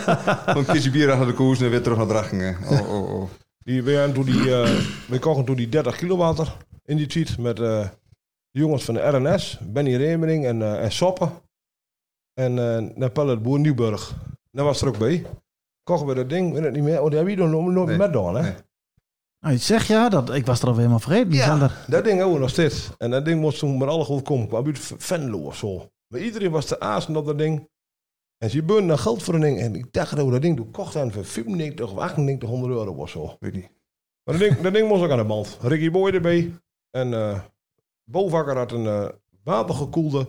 Speaker 2: Van kies bier achter de koers en weer terug naar Drachingen. Oh, oh, oh.
Speaker 4: Die, we, hebben toen die, eh, we kochten toen die 30 kilo water in die tijd met eh, de jongens van de RNS, Benny Remering en, eh en Soppen. En eh naar Pellet Boer Nieuwburg. Daar was er ook bij. Kochten we dat ding, weet het niet meer. Oh, die hebben we nog nooit
Speaker 2: Nee.
Speaker 4: met dan, hè?
Speaker 2: Nee.
Speaker 1: Nou, je zegt ja, dat, ik was er alweer helemaal vergeten. Die zijn er.
Speaker 4: Dat ding hebben we nog steeds. En dat ding moest toen met alle goed komen. Kwam uit Venlo of zo. Maar iedereen was te aas op dat ding. En ze beunden dan geld voor een ding. En ik dacht dat we dat ding toen kochten aan voor 95 of 9800 euro of zo.
Speaker 2: Weet niet.
Speaker 4: Maar dat ding, dat ding moest ook aan de band. Ricky Boy erbij. En eh Bovakker had een eh, watergekoelde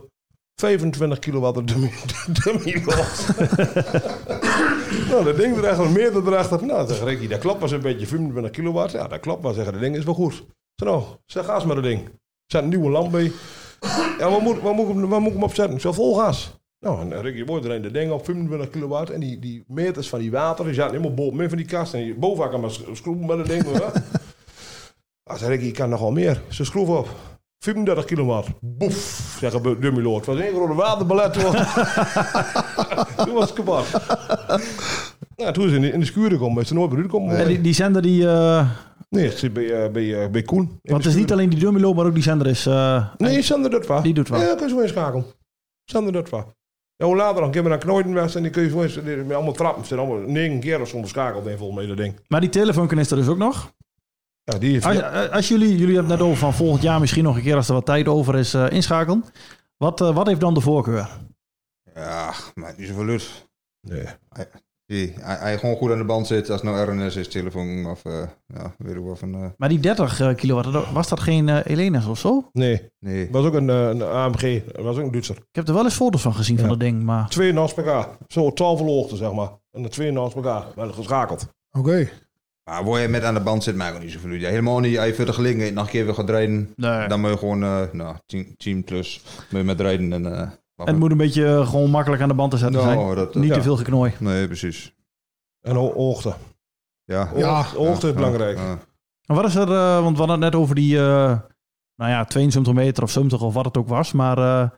Speaker 4: 25 kilowatt dummy, dummy lot. nou, dat ding erachter, meer dan erachter. Nou, zeg Ricky, dat klopt was een beetje 25 kilowatt. Ja, dat klopt maar. Zeggen, dat ding is wel goed. Ik Zeg nou, zeg gas met dat ding. Er staat een nieuwe lamp bij. Ja, waar moet, waar moet, ik, hem- waar moet ik hem opzetten? Ik zeg, vol gas. Nou, en Ricky Boy draait dat ding op 25 kilowatt. En die, die meters van die water, die zaten helemaal boven van die kast. En die Bovakker maar sch- schroeven met dat ding. hoor. Ah, zei ik, ik kan nog wel meer. Ze schroef op. 35 kilowatt. Boef, zeggen we, dummy lord. Het was één grote waterballet. Toen Toen was het kapot. Nou, toen is in de, in de schuur gekomen. Is ze nooit bedoeld komen.
Speaker 1: En die, die zender die... eh,
Speaker 4: Nee, het zit bij, eh, bij, eh, bij Koen. in de
Speaker 1: want het is niet
Speaker 4: schuur.
Speaker 1: alleen die dummelo, maar ook die zender is... eh,
Speaker 4: Nee, Sander Dutwa.
Speaker 1: Die doet wat.
Speaker 4: Ja, dan kun je zo inschakelen. Sander Dutwa. Ja, hoe later dan? Ik heb er dan knooiden weg en die kun je zo eens... die- Met allemaal trappen. Er zijn allemaal negen keer of zo schakeld in volgens mij dat ding.
Speaker 1: Maar die telefoonken is er dus ook nog.
Speaker 4: Ja, die heeft...
Speaker 1: Als, eh, als jullie, jullie hebben het net over van volgend jaar misschien nog een keer als er wat tijd over is eh, inschakelen. Wat, eh, wat heeft dan de voorkeur?
Speaker 2: Ja, maar niet zoveel lust.
Speaker 4: Nee.
Speaker 2: Zie, Hij, hij gewoon goed aan de band zit als het nou RNS is, telefoon of eh ja, weet ik wel van... eh,
Speaker 1: Maar die 30 eh, kilowatt, dat- was dat geen eh Elena's of zo?
Speaker 4: Nee.
Speaker 2: nee.
Speaker 4: was ook een, eh, een AMG. was ook een Duitser.
Speaker 1: Ik heb er wel eens foto's van gezien van
Speaker 4: Ja.
Speaker 1: dat ding, maar...
Speaker 4: Twee naast elkaar. Zo, twaalf hoogte, zeg maar. En de twee naast elkaar. Wel geschakeld.
Speaker 3: Oké.
Speaker 2: Maar waar je met aan de band zit, maakt ook niet zoveel uit. Helemaal niet. Als je verder gelingen nog een keer weer gaat rijden,
Speaker 1: Nee.
Speaker 2: dan moet je gewoon, eh nou, 10 10 plus, moet je met rijden en... eh,
Speaker 1: Het moet een beetje eh, gewoon makkelijk aan de band te zetten zijn.
Speaker 2: nou, dat, dat-
Speaker 1: Niet
Speaker 4: ja.
Speaker 1: te veel geknooi.
Speaker 2: Nee, precies.
Speaker 4: En ho- hoogte.
Speaker 2: Ja.
Speaker 4: Hoogte, hoogte is belangrijk.
Speaker 2: Ja, ja.
Speaker 1: En wat is er, eh, want we hadden het net over die, eh, nou ja, 72 meter of 70 of wat het ook was. Maar eh,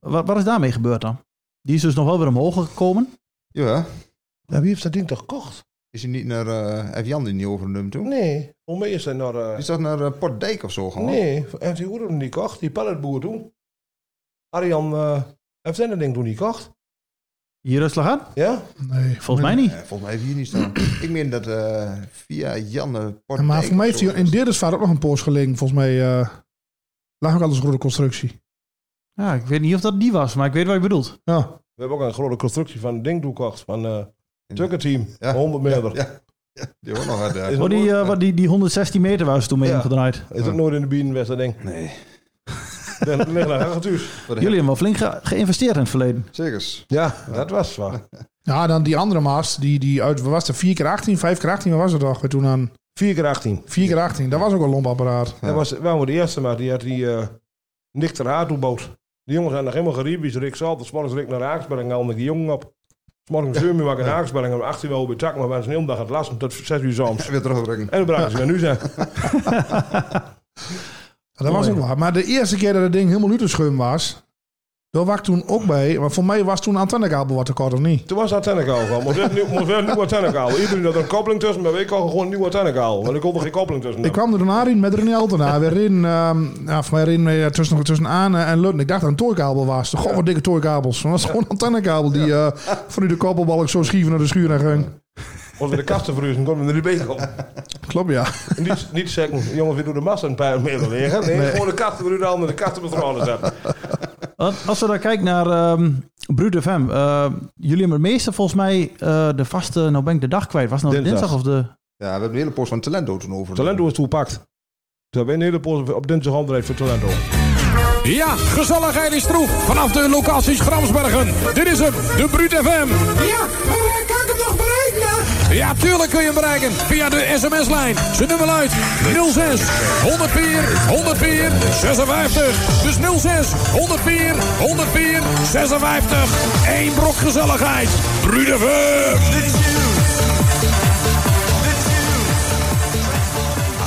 Speaker 1: wat, wat is daarmee gebeurd dan? Die is dus nog wel weer omhoog gekomen.
Speaker 2: Ja,
Speaker 4: Ja, wie heeft dat ding toch gekocht?
Speaker 2: Is hij niet naar... eh heeft Jan die niet overgenomen toen?
Speaker 4: Nee. Voor mij is hij naar... eh,
Speaker 2: Is dat naar eh, Port Dijk of zo gewoon?
Speaker 4: nee, heeft die hoeder hem niet gekocht? Die palletboer toen. Arjan eh heeft zijn dat ding toen niet gekocht.
Speaker 1: Hier rustig aan?
Speaker 4: Ja?
Speaker 3: Nee.
Speaker 1: Volgens mij niet.
Speaker 2: Eh, volgens mij heeft hier niet staan. ik meen dat eh, via Janne Portdijk
Speaker 3: maar voor mij heeft
Speaker 2: of
Speaker 3: hij
Speaker 2: zo
Speaker 3: in Deerdersvaart ook nog een poos gelegen. Volgens mij eh, lag ook al een grote constructie.
Speaker 1: Ja, ik weet niet of dat die was, maar ik weet wat je bedoelt.
Speaker 3: Ja.
Speaker 4: We hebben ook een grote constructie van een ding toegekocht van eh
Speaker 2: is.
Speaker 4: Tucker Team.
Speaker 2: Ja.
Speaker 4: 100 meter.
Speaker 2: Ja, ja, die hoort nog uit. ja.
Speaker 4: Is
Speaker 1: Oh,
Speaker 4: het
Speaker 1: die,
Speaker 4: nooit-
Speaker 1: eh, wat, die, die 116 meter waar ze toen mee
Speaker 4: Ja.
Speaker 1: omgedraaid.
Speaker 4: Is ook nooit in de bienenwest, dat ding.
Speaker 2: Nee.
Speaker 4: Dan ligt naar Hagatuus.
Speaker 2: Voor de-
Speaker 1: Jullie hebben wel flink ge- geïnvesteerd in het verleden.
Speaker 2: Zekers.
Speaker 4: Ja, dat was waar.
Speaker 3: ja, dan die andere maast, die, die uit, wat was het, 4 keer 18 5 keer 18 wat was het toch? We toen aan
Speaker 4: 4 keer 18.
Speaker 3: 4 keer 18 dat was ook een lompapparaat.
Speaker 4: Dat was wel de eerste, maar die had die eh Nick ter Haar toebouwd. Die jongens hadden nog helemaal geriebies. Rick Salters, morgens Rick naar Haaksbergen, haalde ik die jongen op. 's Morgens zeum uur was ik in Haaksbergen, om 18 uur bij Tak, maar we zijn de hele dag aan het lasten tot 6 uur soms.
Speaker 2: Weer terugbrengen.
Speaker 4: En dan braken ze weer nu zijn.
Speaker 3: Ja, dat was ook waar. Maar de eerste keer dat het ding helemaal uiterschuim was, daar was ik toen ook bij. Maar voor mij was toen een antennekabel wat tekort, of niet?
Speaker 4: Toen was dat tennekaal gewoon. Moest weer, nieuw- moest weer een nieuwe tennekaal. Iedereen had er een koppeling tussen, maar ik kon gewoon een nieuwe tennekaal. Want ik kon er geen koppeling tussen.
Speaker 3: Ik kwam er daarna in met René Altena. We reden, ehm ja, voor mij reden we tussen, tussen Aan en Lutten. Ik dacht dat het een toorkabel was. De god, wat dikke toorkabels. Maar dat was gewoon een antennekabel die eh, vanuit de koppelbalk zo schief naar de schuur naar ging.
Speaker 4: Als we de kasten verhuizen, konden we er niet bij komen.
Speaker 3: Klopt, ja.
Speaker 4: Niet, niet zeggen, jongens, we doen de massa een paar meter liggen. Nee, gewoon de kasten, we doen de andere de kasten betrokken zetten.
Speaker 1: Want Als we dan kijken naar ehm Bruut FM. eh, jullie hebben het meeste volgens mij eh, de vaste, nou ben ik de dag kwijt. Was het nou
Speaker 4: Dinsdag.
Speaker 1: dinsdag, of de...
Speaker 2: Ja, we hebben een hele post van Talento toen over.
Speaker 4: Talento is toepakt. Ze hebben een hele poos op dinsdag handrijd voor Talento.
Speaker 6: Ja, gezelligheid is troef vanaf de locaties Gramsbergen. Dit is hem, de Bruut FM.
Speaker 7: Ja, maar kan ik hem nog bereiken?
Speaker 6: Ja, tuurlijk kun je hem bereiken via de sms-lijn. Zijn nummer luidt 06 104 104 56. Dus 06 104 104 56. Eén brok gezelligheid. Bruut FM.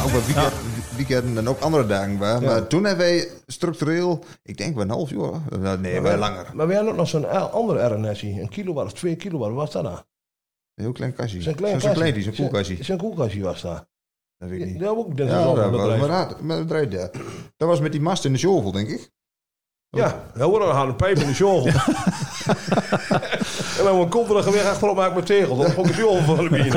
Speaker 2: Ook bij weekend, weekenden en ook andere dagen. waar. Maar toen hebben wij structureel, ik denk wel een half uur. eh, Nee, wel langer.
Speaker 4: Maar we hadden ook nog zo'n a- andere RNS. hier. Een kilowatt of twee kilowatt, wat was dat nou?
Speaker 2: Een heel klein kastje.
Speaker 4: Zo'n klein
Speaker 2: Zo'n
Speaker 4: kastje.
Speaker 2: klein, zo'n koelkastje.
Speaker 4: Zo'n koelkastje was dat.
Speaker 2: Dat weet ik
Speaker 4: Die
Speaker 2: niet.
Speaker 4: hebben we ook dinsdag
Speaker 2: Ja,
Speaker 4: handrijd
Speaker 2: dat was, maar
Speaker 4: bedrijf.
Speaker 2: dat, maar dat draait daar. Dat was met die mast in de shovel, denk ik.
Speaker 4: Ja, heel hoor, dan hadden een pijp in de sjogel. en dan een kontelige weg achterop maken met tegels. Dat vond ik een sjogel van de bier.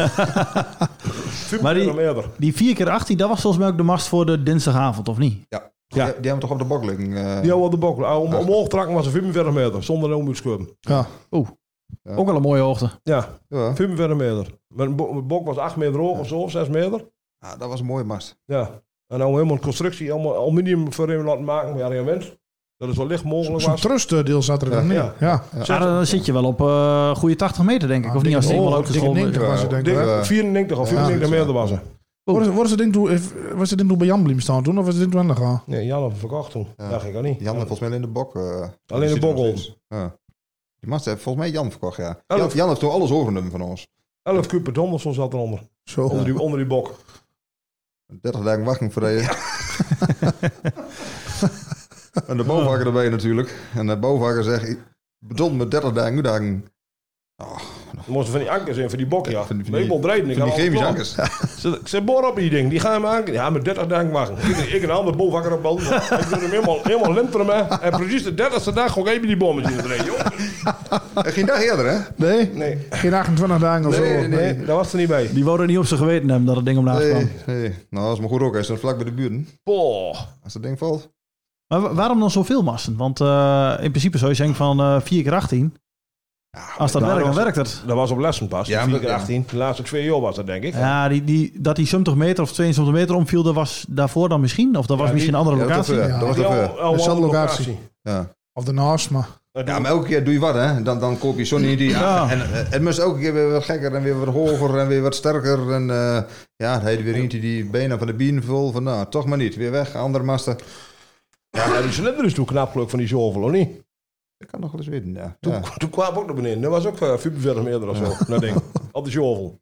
Speaker 1: Maar
Speaker 4: Super
Speaker 1: die-
Speaker 4: eerder.
Speaker 1: Die 4 keer 18 dat was volgens mij ook de mast voor de dinsdagavond, of niet?
Speaker 2: Die, die hebben we toch op de bok liggen. eh,
Speaker 4: Die hadden we op de bok. Ah, Om, omhoog trakken was een 45 meter, zonder een omhoedskum.
Speaker 3: Ja.
Speaker 1: Ook wel een mooie hoogte.
Speaker 4: Ja,
Speaker 2: ja.
Speaker 4: 45 meter. Mijn bo- mijn bok was 8 meter hoog of zo, of 6 meter.
Speaker 2: Ah, dat was een mooie mast.
Speaker 4: Ja, en nou helemaal een constructie, allemaal aluminium voor hem laten maken, maar ja, geen wens. Dat is zo licht mogelijk
Speaker 3: Zo'n
Speaker 4: was.
Speaker 3: trustdeel zat er dan in.
Speaker 4: Ja.
Speaker 3: Ja. Oh,
Speaker 1: Ja, dan zit je wel op eh goede 80 meter, denk ik. of niet, als het eenmaal uitgeschoven is.
Speaker 3: Ah, Dikke was het, denk ik.
Speaker 4: Dikke
Speaker 3: hè?
Speaker 2: Ja.
Speaker 4: 94 of
Speaker 2: Ja,
Speaker 4: 94 meter was er.
Speaker 3: Wordt het- wordt het ding toen- heeft- was het ding toen bij Jan Bliem staan toen? Of was het ding toen aan de gang?
Speaker 4: Nee, Jan had hem verkocht toen.
Speaker 2: Ja.
Speaker 4: Dacht ik al niet.
Speaker 2: Jan heeft volgens mij alleen de bok. eh, die
Speaker 4: de
Speaker 2: zit er
Speaker 4: bok
Speaker 2: nog
Speaker 4: om.
Speaker 2: steeds. Ja. Die mast heeft volgens mij Jan verkocht, ja.
Speaker 4: Elf.
Speaker 2: Jan, Jan heeft toch alles overgenomen van ons.
Speaker 4: 11 kuub per ton of zo zat eronder.
Speaker 3: Zo.
Speaker 4: Onder, die, onder die bok.
Speaker 2: 30 dagen wachten voor je. en de bouwvakker erbij natuurlijk. En de bouwvakker zegt, "Ik beton met 30 dagen, nu dagen.
Speaker 4: Er moesten van die ankers in, van die bokken. Ja.
Speaker 2: van die- van
Speaker 4: Maar ik
Speaker 2: die-
Speaker 4: wil breiden. Ik
Speaker 2: Van die
Speaker 4: had alles
Speaker 2: chemische
Speaker 4: klaar.
Speaker 2: akkers.
Speaker 4: Ze- Ik zet boor op die ding. Die gaan hem aan. Ja, met 30 dagen wachten. Ik, ik en een ander bolvakker op bal. Ik doe hem helemaal, helemaal linter hem. hè. En precies de 30ste dag gooi ik even die bommetje erin. joh.
Speaker 2: En Eh, geen dag eerder, hè?
Speaker 3: Nee?
Speaker 4: Nee.
Speaker 3: Geen 28 dagen of
Speaker 2: Nee,
Speaker 3: zo.
Speaker 2: nee, nee.
Speaker 4: Nee, daar was er niet bij.
Speaker 1: Die wouden niet op zijn geweten hebben dat het ding omlaag kwam.
Speaker 2: Nee, nee. Nou, dat is maar goed ook. Hij staat vlak bij de buren.
Speaker 4: Boah.
Speaker 2: Als dat ding valt.
Speaker 1: Maar wa- waarom dan zoveel masten? Want eh, in principe zou je zeggen van eh 4 keer 18 Als dat
Speaker 4: nou,
Speaker 1: werkt, dan
Speaker 4: dat-
Speaker 1: werkt het.
Speaker 4: Dat was op lessen pas.
Speaker 2: Ja,
Speaker 4: Ja, 4
Speaker 2: maar-
Speaker 4: keer 18. De laatste twee jaar was dat, denk ik.
Speaker 1: Ja, die, die, dat die 70 meter of 72 meter omviel, dat was daarvoor dan misschien? Of dat was
Speaker 4: Ja,
Speaker 1: misschien een andere
Speaker 2: Ja, dat was
Speaker 1: locatie?
Speaker 2: te ver.
Speaker 3: Ja.
Speaker 2: Dat was te
Speaker 4: Ja,
Speaker 2: ver.
Speaker 4: wel- wel
Speaker 3: Dezelfde
Speaker 4: een
Speaker 3: locatie.
Speaker 2: Ja.
Speaker 3: Of daarnaast, maar...
Speaker 4: Dat
Speaker 2: ja,
Speaker 4: doen
Speaker 2: maar elke keer doe je wat, hè? Dan, dan koop je zo'n idee.
Speaker 1: Ja.
Speaker 2: En eh, het moest elke keer weer wat gekker en weer wat hoger en weer wat sterker. En eh, ja, dan had je weer eentje die benen van de bienen vol. Van nou, toch maar niet. Weer weg, andere masten.
Speaker 4: we. Ja, die cilinder is toen knap geluk van die shovel, of niet?
Speaker 2: Ik kan nog wel eens weten, ja.
Speaker 4: Toen,
Speaker 2: Ja.
Speaker 4: toen kwam ik ook naar beneden. Dat was ook eh, 45 meter of zo. Dat ding. Al die shovel.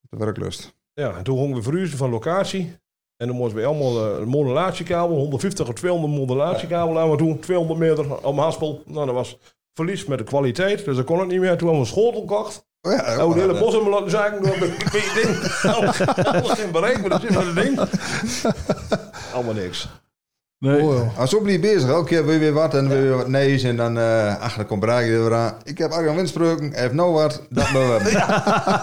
Speaker 2: De werklust.
Speaker 4: Ja, en toen hongen we verhuizen van locatie. En dan moesten we allemaal eh, een modulatiekabel, 150 of 200 modulatiekabel aan we doen. 200 meter om haspel. Nou, dat was verlies met de kwaliteit. Dus dat kon het niet meer. Toen hebben we een schotel gekocht.
Speaker 2: Oh ja,
Speaker 4: Oh, de hele
Speaker 2: ja.
Speaker 4: bos in mijn laten zaken door met met je ding. Alles in bereik, maar dat zit maar het ding. Allemaal niks.
Speaker 1: Nee.
Speaker 3: Oh, joh.
Speaker 2: Maar zo blijf je bezig. Elke keer wil je weer wat en wil je weer wat nees. En dan, eh ach, dan komt Braak weer aan. Ik heb Arjan Winspreuken, hij heeft nou wat. Dat ben we.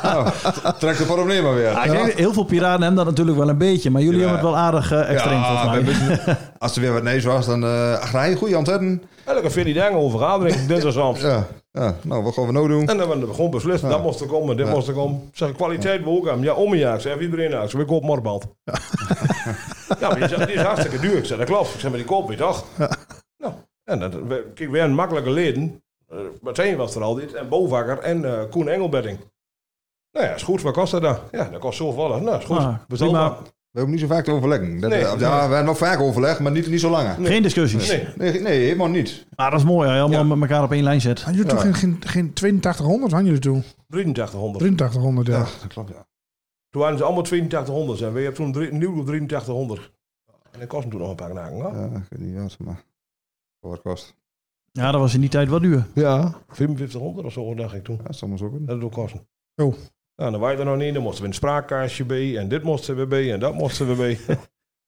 Speaker 2: nou, trek de probleem maar weer.
Speaker 1: Ah, ik denk, heel veel piraten hebben dat natuurlijk wel een beetje, maar jullie
Speaker 2: Ja.
Speaker 1: hebben het wel aardig eh, extreem
Speaker 2: Ja,
Speaker 1: volgens mij.
Speaker 2: een beetje- als er weer wat nees was, dan eh ach, hij goede antwoorden.
Speaker 4: Elke vind die dingen over aanbrengen, dit is soms.
Speaker 2: Ja, ja, nou, wat gaan we nou doen?
Speaker 4: En dan werd er gewoon beslist, dat moest er komen, dit moest er komen. Ik Zeg, kwaliteit wil ook hem. Ja, om een jaar. Ik zeg, iedereen jaar. Ik zeg, ik koop morband. Ja, maar die is, die is hartstikke duur. Ik zeg, dat klopt. Ik zeg, maar die koop je toch? Nou, en dat, we- kijk, weer een makkelijke leden. Eh, Martijn was er al dit. En Bovakker en eh, Koen Engelbedding. Nou ja, is goed. Wat kost dat dan? Ja, dat kost zoveel. Nou, is goed.
Speaker 1: Ah,
Speaker 4: Bestel
Speaker 1: prima.
Speaker 4: maar.
Speaker 2: We hebben niet zo vaak te overleggen. Dat,
Speaker 4: Nee.
Speaker 2: ja, we hebben nog vaak overleg, maar niet, niet zo lang.
Speaker 1: Geen discussies.
Speaker 4: Nee.
Speaker 2: Nee, nee, helemaal niet.
Speaker 1: Maar dat is mooi, hè, helemaal
Speaker 4: Ja.
Speaker 1: met elkaar op één lijn zit.
Speaker 3: Hadden jullie toen geen, geen, geen 8200? Hadden jullie toen?
Speaker 4: 8300.
Speaker 3: 8300, ja.
Speaker 2: Ja, dat klopt, ja.
Speaker 4: Toen waren ze allemaal 8200 en we hebben toen drie, nieuw op 8300. En dat kostte toen nog een paar knaken. hoor.
Speaker 2: Ja, ik weet niet wat, maar... Voor wat kost.
Speaker 1: Ja, dat was in die tijd wat duur.
Speaker 4: Ja. 5500 of zo, dacht ik toen.
Speaker 2: Ja, soms ook.
Speaker 4: Dat het ook kosten.
Speaker 3: Oh.
Speaker 4: Nou, dan waren we er nog niet. Dan moesten we een spraakkaartje bij. En dit moesten we bij. En dat moesten we bij.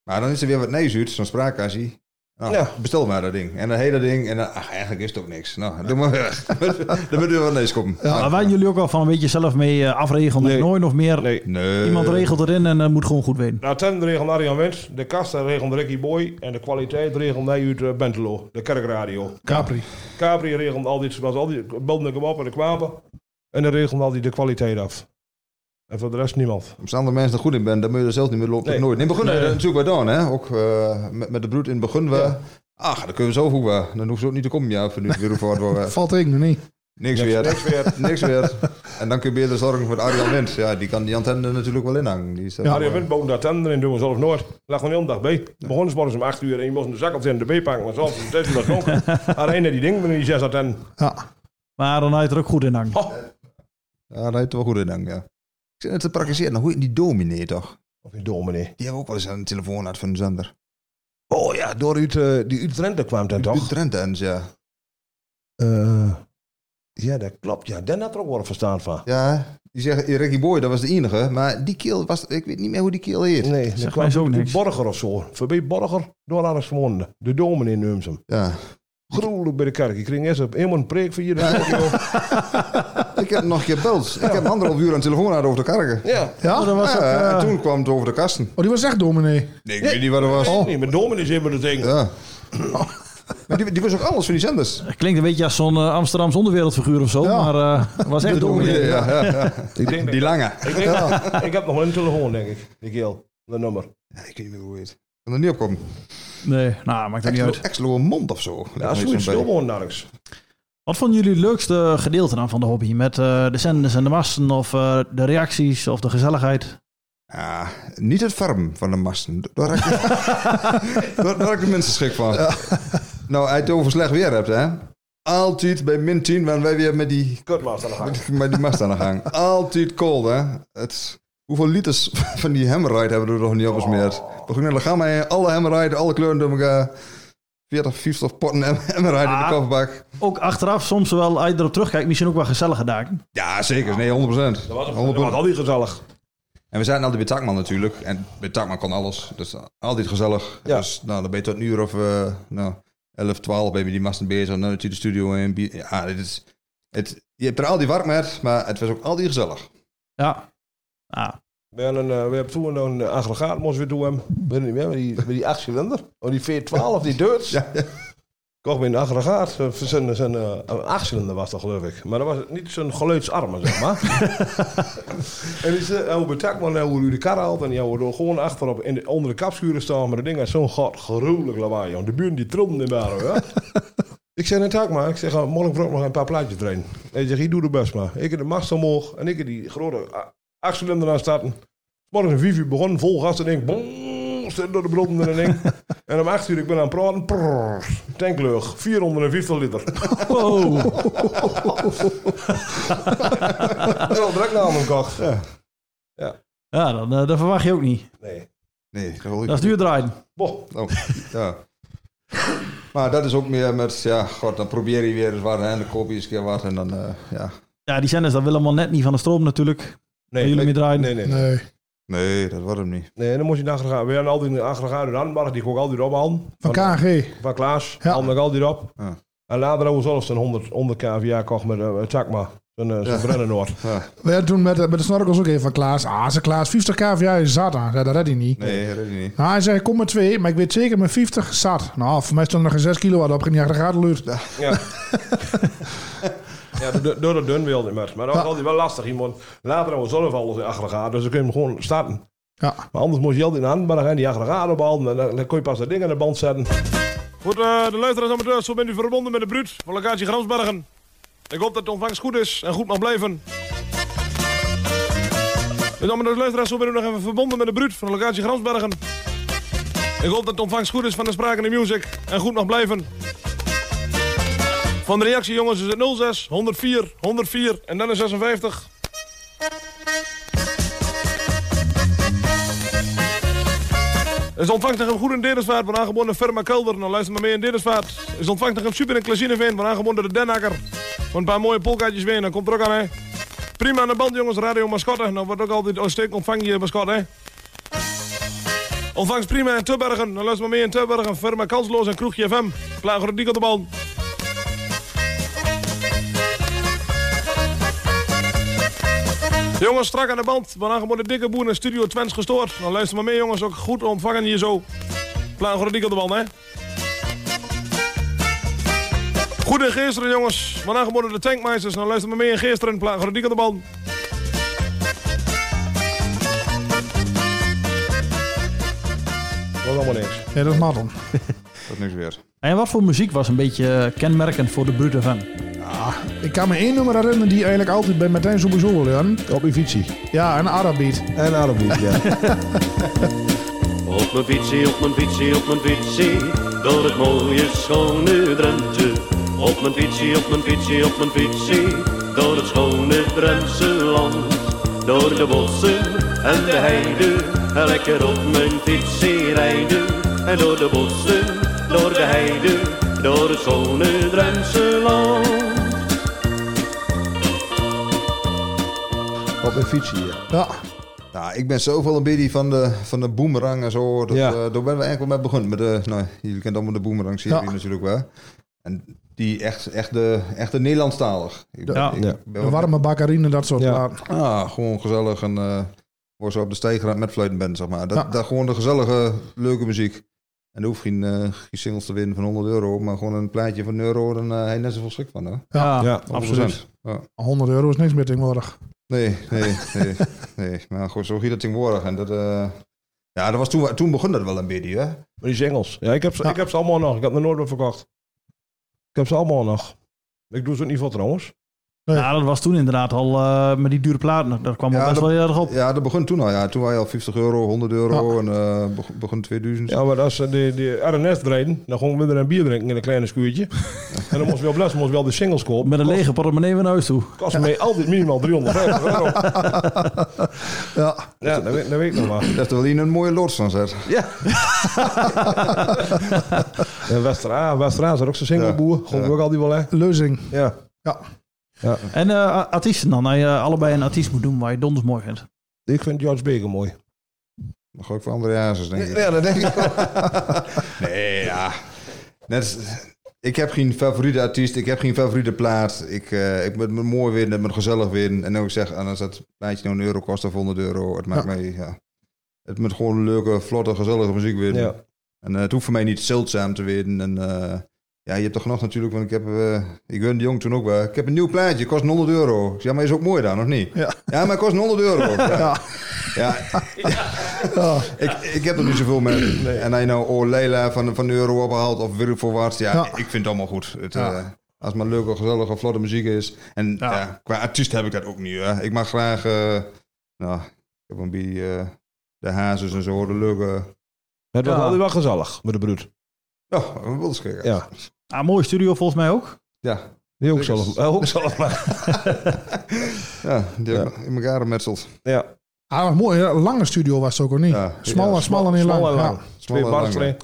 Speaker 2: Maar dan is er weer wat nees uit, zo'n spraakkassie. Nou,
Speaker 4: Ja.
Speaker 2: bestel maar dat ding. En dat hele ding. En dan, ach, eigenlijk is het ook niks. Nou, doe maar weg. dan moet er wel nees komen. Nou,
Speaker 1: maar waren jullie ook al van een beetje zelf mee eh, afregelen?
Speaker 4: Nee.
Speaker 1: Nooit nog meer.
Speaker 4: Nee.
Speaker 2: Nee.
Speaker 1: Iemand regelt erin en eh, moet gewoon goed weten.
Speaker 4: Nou, ten regelde Arjan Wens. De kasten regelde Ricky Boy. En de kwaliteit regelde hij uit eh, Bentelo. De kerkradio.
Speaker 3: Capri.
Speaker 4: Capri regelde al die... Was al die belde ik hem op en ik kwamen. En dan regelde al die de kwaliteit af. En voor de rest niemand.
Speaker 2: Als andere mensen er goed in bent, dan moet je er zelf niet meer lopen.
Speaker 4: Nee.
Speaker 2: Nooit. In het begin
Speaker 4: Nee.
Speaker 2: eh, natuurlijk wel dan, hè. Ook eh, met, met de bloed in het begin. We,
Speaker 4: Ja.
Speaker 2: Ach, dan kunnen we zo goed. eh, Dan hoeven ze ook niet te komen. Ja, voor nu weer voor worden.
Speaker 3: Valt ik nog niet.
Speaker 2: Niks
Speaker 4: Niks-
Speaker 2: eh, weer.
Speaker 4: niks weer.
Speaker 2: niks weer. En dan kun je beter zorgen voor Arjan Wens. Ja, die kan die antenne er natuurlijk wel inhangen. Die is, eh,
Speaker 4: Arjan Wens bood daar tender in. Doen we zelf nooit. Lag gewoon heel de dag bij. Begonnen ze morgens om 8 uur. En je moest een zak op de B pakken. Maar zelfs om 6 uur was het donker. Alleen die ding. Die 6 antennen.
Speaker 3: Ja.
Speaker 1: Maar dan had je er ook goed in hangen.
Speaker 4: Oh.
Speaker 2: eh, Ja, daar heeft het wel goed in, dank ja. Ik zit net te praktiseren. Nou, hoe heet die dominee toch?
Speaker 4: Of een dominee.
Speaker 2: Die hebben ook wel eens aan de telefoon uit van een zender.
Speaker 4: Oh ja, door uit, eh, die Utrecht kwam dat
Speaker 2: Uit
Speaker 4: toch?
Speaker 2: Drenthe en ja.
Speaker 4: Eh, ja, dat klopt. Ja, Dan had er ook wel een verstand van.
Speaker 2: Ja, die zeggen eh, Ricky Boy, dat was de enige. Maar die keel was, ik weet niet meer hoe die keel heet.
Speaker 4: Nee, dat
Speaker 1: mij
Speaker 4: kwam
Speaker 1: zo
Speaker 4: uit
Speaker 1: niks.
Speaker 4: Borger of zo. Voorbij Borger, door alles verwonden. De dominee noemt hem.
Speaker 2: Ja.
Speaker 4: Gruwelijk bij de kerk. Ik kreeg eerst op helemaal een preek van je. Ja,
Speaker 2: Ik heb hem nog een keer gebeld. Ik heb hem anderhalf uur aan de telefoon gehad over de karken.
Speaker 4: ja.
Speaker 3: Ja?
Speaker 1: Dan was het,
Speaker 2: Ja,
Speaker 1: eh,
Speaker 2: en toen kwam het over de kasten.
Speaker 3: Oh, die was echt dominee.
Speaker 2: Nee, ik weet niet wat het was.
Speaker 1: Oh.
Speaker 4: Nee, maar dominee is helemaal het ding.
Speaker 2: Ja. Maar die, die was ook alles van die zenders.
Speaker 1: het klinkt een beetje als zo'n eh, Amsterdamse onderwereldfiguur of zo. Maar eh, het was echt dominee.
Speaker 2: Ja, ja, ja.
Speaker 4: denk dat-
Speaker 2: Die lange.
Speaker 4: Ik, denk, ik heb nog wel een telefoon, denk ik. Die keel, dat nummer.
Speaker 2: Ja, ik weet niet meer hoe het heet. Ik kan er niet op komen.
Speaker 1: Nee, nou, maakt het niet uit.
Speaker 2: Exlo mond of zo.
Speaker 4: Ja, zoiets. Stil gewoon nergens.
Speaker 1: Wat vonden jullie het leukste gedeelte dan van de hobby? Met eh, de zenders en de masten of eh, de reacties of de gezelligheid?
Speaker 2: Ja, Ah, niet het farm van de masten. Daar raak ik, daar, daar raak ik de mensen schrik van. Nou, uit over slecht weer hebt, hè? Altijd bij min 10 waren wij weer met die,
Speaker 4: Kutmaster aan de gang.
Speaker 2: met die mast aan de gang. Altijd cold, hè? Het, hoeveel liters van die hemmerride hebben we er nog niet opgesmeerd? We gingen naar de gamma heen, alle hemmerride, alle kleuren door elkaar. 40, 50 potten hem- hemmerride in
Speaker 1: Ah.
Speaker 2: de kofferbak.
Speaker 1: Ook achteraf soms wel, als je erop terugkijkt, misschien ook wel gezellige dagen.
Speaker 2: Ja, zeker. Nee, 100%.
Speaker 4: Dat was, een-
Speaker 2: 100%.
Speaker 4: dat was al die gezellig.
Speaker 2: En we zaten altijd bij Takman natuurlijk. En bij Takman kon alles. Dus altijd gezellig.
Speaker 4: Ja.
Speaker 2: Dus nou, dan ben je tot een uur of eh, nou, 11, 12 ben je met die masten bezig. Dan natuurlijk de studio in. Bier- Ja, dit is, het, je hebt er al die warm met, maar het was ook al die gezellig.
Speaker 1: Ja. Ah,
Speaker 4: We hebben, een, eh, we hebben toen een eh, aggregaat moest weer doen. hem. Ik weet het niet meer, maar die, maar die 8 cilinder. Oh, die 412, die deurts.
Speaker 2: Ja.
Speaker 4: Kocht weer een aggregaat. eh, voor Zijn, zijn, eh, een 8 cilinder was dat, geloof ik. Maar dat was niet zo'n geluidsarme, zeg maar. en die zei, hoe betak man, hoe u de kar haalt. En die houden er gewoon achterop in de, onder de kapschuren staan. Maar dat ding had zo'n god, gruwelijk lawaai, joh. De buren die trilden in baren, ja. Ik zei, net maar. Ik zeg, "Oh, morgen brok nog een paar plaatjes erin. Hij zegt, ik doe het best maar. Ik heb de mast omhoog en ik heb die grote a- achtcilinder aan starten. Morgen om vijf uur begon, vol gas en ik, boom, stel door de bronnen en ding. en om acht uur, ik ben aan het praten, prrr, tankleug, 450 liter.
Speaker 1: Wow.
Speaker 4: Dat is al direct na mijn kocht.
Speaker 1: Ja, dan, eh, dat verwacht je ook niet.
Speaker 4: Nee.
Speaker 2: Nee, dat wil ik
Speaker 1: Dat is duur draaien.
Speaker 4: Boh,
Speaker 2: Oh, ja. Maar dat is ook meer met, ja, god, dan probeer je weer eens wat. hè, En dan koop je eens een keer wat. En dan, eh, ja.
Speaker 1: Ja, die zenders, dat willen allemaal net niet van de stroom natuurlijk.
Speaker 4: nee.
Speaker 1: Waar jullie mee draaien.
Speaker 4: Nee, nee. nee.
Speaker 3: Nee.
Speaker 2: Nee, dat wordt hem niet.
Speaker 4: Nee, dan moest je naar aggregaat. We hebben altijd een aggregaat in Handbach, die gooi ik altijd op aan.
Speaker 3: Van KG.
Speaker 4: Van Klaas,
Speaker 3: Ja.
Speaker 4: ja. nam ik altijd op.
Speaker 2: Ja.
Speaker 4: En later ook zelfs een 100, 100 kVA kocht met uh, Takma. Zijn, eh, zijn Brennenoord.
Speaker 3: We hadden toen met, de- met de snorkels ook even van Klaas. Ah, ze Klaas, 50 kVA is zat aan. Zei, dat red hij niet.
Speaker 2: Nee, dat is niet.
Speaker 3: Nou, hij zei, kom maar twee, maar ik weet zeker mijn 50 zat. Nou, voor mij stond er nog een 6 kilowatt op, ging niet achter de lucht.
Speaker 4: Ja. ja, door- door de dun wilde maar. Maar dat was altijd wel lastig. Iemand later ook zelf alles in aggregaat, dus dan kun je hem gewoon starten.
Speaker 3: Ja.
Speaker 4: Maar anders moest je altijd in de handbag en die aggregaat ophalen. En dan, dan kon je pas dat ding aan de band zetten. Goed, eh, de luisteraars amateurs, zo bent u verbonden met de Bruut van locatie Gramsbergen. Ik hoop dat de ontvangst goed is en goed mag blijven. Dus amateurs, luisteraars, zo bent u nog even verbonden met de Bruut van locatie Gramsbergen. Ik hoop dat de ontvangst goed is van de Spraak en de Music en goed mag blijven. Van de reactie jongens is het 06, 104, 104 en dan een 56. Is de ontvangst goed in Dedesvaart van aangebonden firma Kelder. Dan luister maar mee in Dedesvaart. Is de ontvangst super in Klazineveen van aangebonden de Denhakker. Van een paar mooie polkaatjes weer, dan komt er ook aan hè. Prima aan de band jongens, radio mascotte. Dan wordt ook altijd uitstekend ontvang je mascotte hè. Ontvangst prima in Tubbergen. Dan luister maar mee in Tubbergen. Firma Kansloos en Kroegje FM. Klaar voor de op de bal. Jongens, strak aan de band. Van aangeboden dikke boer in Studio Twents gestoord. Dan luister maar mee jongens, ook goed ontvangen hier zo. Plan voor de dikke op de band, hè. Goed in gisteren jongens. Van aangeboden de tankmeisters. Dan luister maar mee in gisteren. Plan voor de dikke op de band. Dat was allemaal niks.
Speaker 3: Ja, dat is Martin.
Speaker 2: Dat is niks weer.
Speaker 1: En wat voor muziek was een beetje eh, kenmerkend voor de Brut FM?
Speaker 3: Ik kan me één nummer herinneren die eigenlijk altijd bij Martijn sowieso wil leren.
Speaker 4: Op Ivici.
Speaker 3: Ja, een Arabiet.
Speaker 4: En Arabiet, ja.
Speaker 8: Op mijn fietsie, op mijn fietsie, op mijn fietsie, door het mooie schone Drenthe. Op mijn fietsie, op mijn fietsie, op mijn fietsie, door het schone Drentse land. Door de bossen en de heide, en lekker op mijn fietsie rijden. En door de bossen, door de heide, door het schone Drentse land.
Speaker 4: Op Ivici, ja.
Speaker 3: Ja.
Speaker 2: Nou, ik ben zoveel een beetje van de, van de boomerang en zo. Dat,
Speaker 4: Ja.
Speaker 2: eh, daar ben we eigenlijk wel mee begonnen. Met de, nou, jullie kennen allemaal de boomerang serie
Speaker 3: Ja.
Speaker 2: natuurlijk wel. En die echt, echt, de, echt de Nederlandstalig. Ik, ben-
Speaker 1: Ja.
Speaker 2: ik
Speaker 4: Ja.
Speaker 2: ben
Speaker 3: Een
Speaker 2: wel-
Speaker 3: warme bakkerine, dat soort
Speaker 4: Ja.
Speaker 3: platen.
Speaker 2: Ah, gewoon gezellig en eh voor zo op de stijgraad met fluiten bent, zeg maar. Dat,
Speaker 3: Ja.
Speaker 2: dat gewoon de gezellige, leuke muziek. En er hoeft geen, eh, geen singles te winnen van 100 euro, maar gewoon een plaatje van een euro, dan eh hij net zoveel schrik van, hè?
Speaker 1: Ja,
Speaker 4: Ja,
Speaker 1: absoluut.
Speaker 2: 100%. Ja.
Speaker 3: 100 euro is niks meer tegenwoordig.
Speaker 2: Nee, nee, nee, nee. Maar goed, zo ging dat tegenwoordig. En dat, eh, ja, dat was toen, toen begon dat wel een beetje, hè?
Speaker 4: Maar die singles. Ja, ik heb, ze-
Speaker 3: Ja.
Speaker 4: Ik heb ze allemaal nog. Ik heb er nooit wat verkocht. Ik heb ze allemaal nog. Ik doe ze ook niet voor trouwens.
Speaker 1: Ja, Nou, dat was toen inderdaad al eh, met die dure platen. Dat kwam
Speaker 2: Ja,
Speaker 1: al best
Speaker 2: dat-
Speaker 1: wel heel erg op.
Speaker 2: Ja, dat begon toen al. Ja. Toen waren je al 50 euro, 100 euro en eh, beg- begon 2000.
Speaker 4: Ja, maar als ze die, die RNS draaiden, dan gingen we er een bier drinken in een kleine schuurtje. en dan moest wel bless, moest wel de singles kopen.
Speaker 1: Met een lege portemonnee weer naar huis toe.
Speaker 4: Kost mij altijd minimaal 350 euro.
Speaker 3: Ja.
Speaker 4: Ja, dat weet, dat weet ik nog maar.
Speaker 2: Dat is er wel in een mooie lords van zet.
Speaker 4: En Westera, Westera is er ook zo'n singleboer. Gewoon
Speaker 2: Ja.
Speaker 4: ook altijd wel, hè.
Speaker 3: Leuzing.
Speaker 4: Ja.
Speaker 3: Ja.
Speaker 1: En eh, artiesten dan, dat je allebei een artiest moet doen waar je donders mooi vindt.
Speaker 4: Ik vind George Baker mooi.
Speaker 2: Dan ga ik voor andere hazes, denk ik.
Speaker 4: dat denk ik
Speaker 2: Nee, ja. Net, als- ik heb geen favoriete artiest, ik heb geen favoriete plaat. Ik, eh, ik moet me mooi winnen, moet gezellig winnen. En ook zeg, en als dat plaatje nou een euro kost of 100 euro, het maakt
Speaker 3: Ja.
Speaker 2: mij... Ja. Het moet gewoon leuke, vlotte, gezellige muziek winnen.
Speaker 4: Ja.
Speaker 2: En eh, het hoeft voor mij niet zeldzaam te winnen. En eh, ja, je hebt toch nog natuurlijk, want ik heb, eh, ik ben de jong toen ook wel. Ik heb een nieuw plaatje, kost 100 euro. Ik zeg, Ja, maar is ook mooi dan, of niet?
Speaker 3: Ja.
Speaker 2: maar het kost 100 euro. Ja. ja. Ik, ik heb er niet zoveel mee. En hij nou oh, Leila van, van de euro ophaalt of weer voor wat. Ja,
Speaker 3: Ja.
Speaker 2: ik vind het allemaal goed. Het,
Speaker 3: Ja.
Speaker 2: eh, als het maar leuke, gezellige, vlotte muziek is. En
Speaker 3: Ja.
Speaker 2: ja, qua artiest heb ik dat ook niet. Hè. Ik mag graag, eh, nou, ik heb een beetje eh, de hazes en zo, de leuke...
Speaker 4: Het was
Speaker 1: Ja.
Speaker 4: altijd wel gezellig met de bruut.
Speaker 2: Ja, een wilschikker.
Speaker 4: Ja.
Speaker 1: Ah, mooie studio volgens mij ook.
Speaker 2: ja.
Speaker 4: Die ook
Speaker 2: Zeker.
Speaker 4: zelf. eh, Ook zelf. maar-
Speaker 2: Ja, die hebben in elkaar gemetseld.
Speaker 4: Ja.
Speaker 3: Ah, was mooi. hè. Lange studio was het ook, of niet?
Speaker 2: Ja,
Speaker 3: Smal
Speaker 2: ja,
Speaker 3: en smal en heel lang.
Speaker 4: Smal en
Speaker 3: Ja.
Speaker 4: lang. Twee
Speaker 2: Smal en lang,
Speaker 4: bars erin.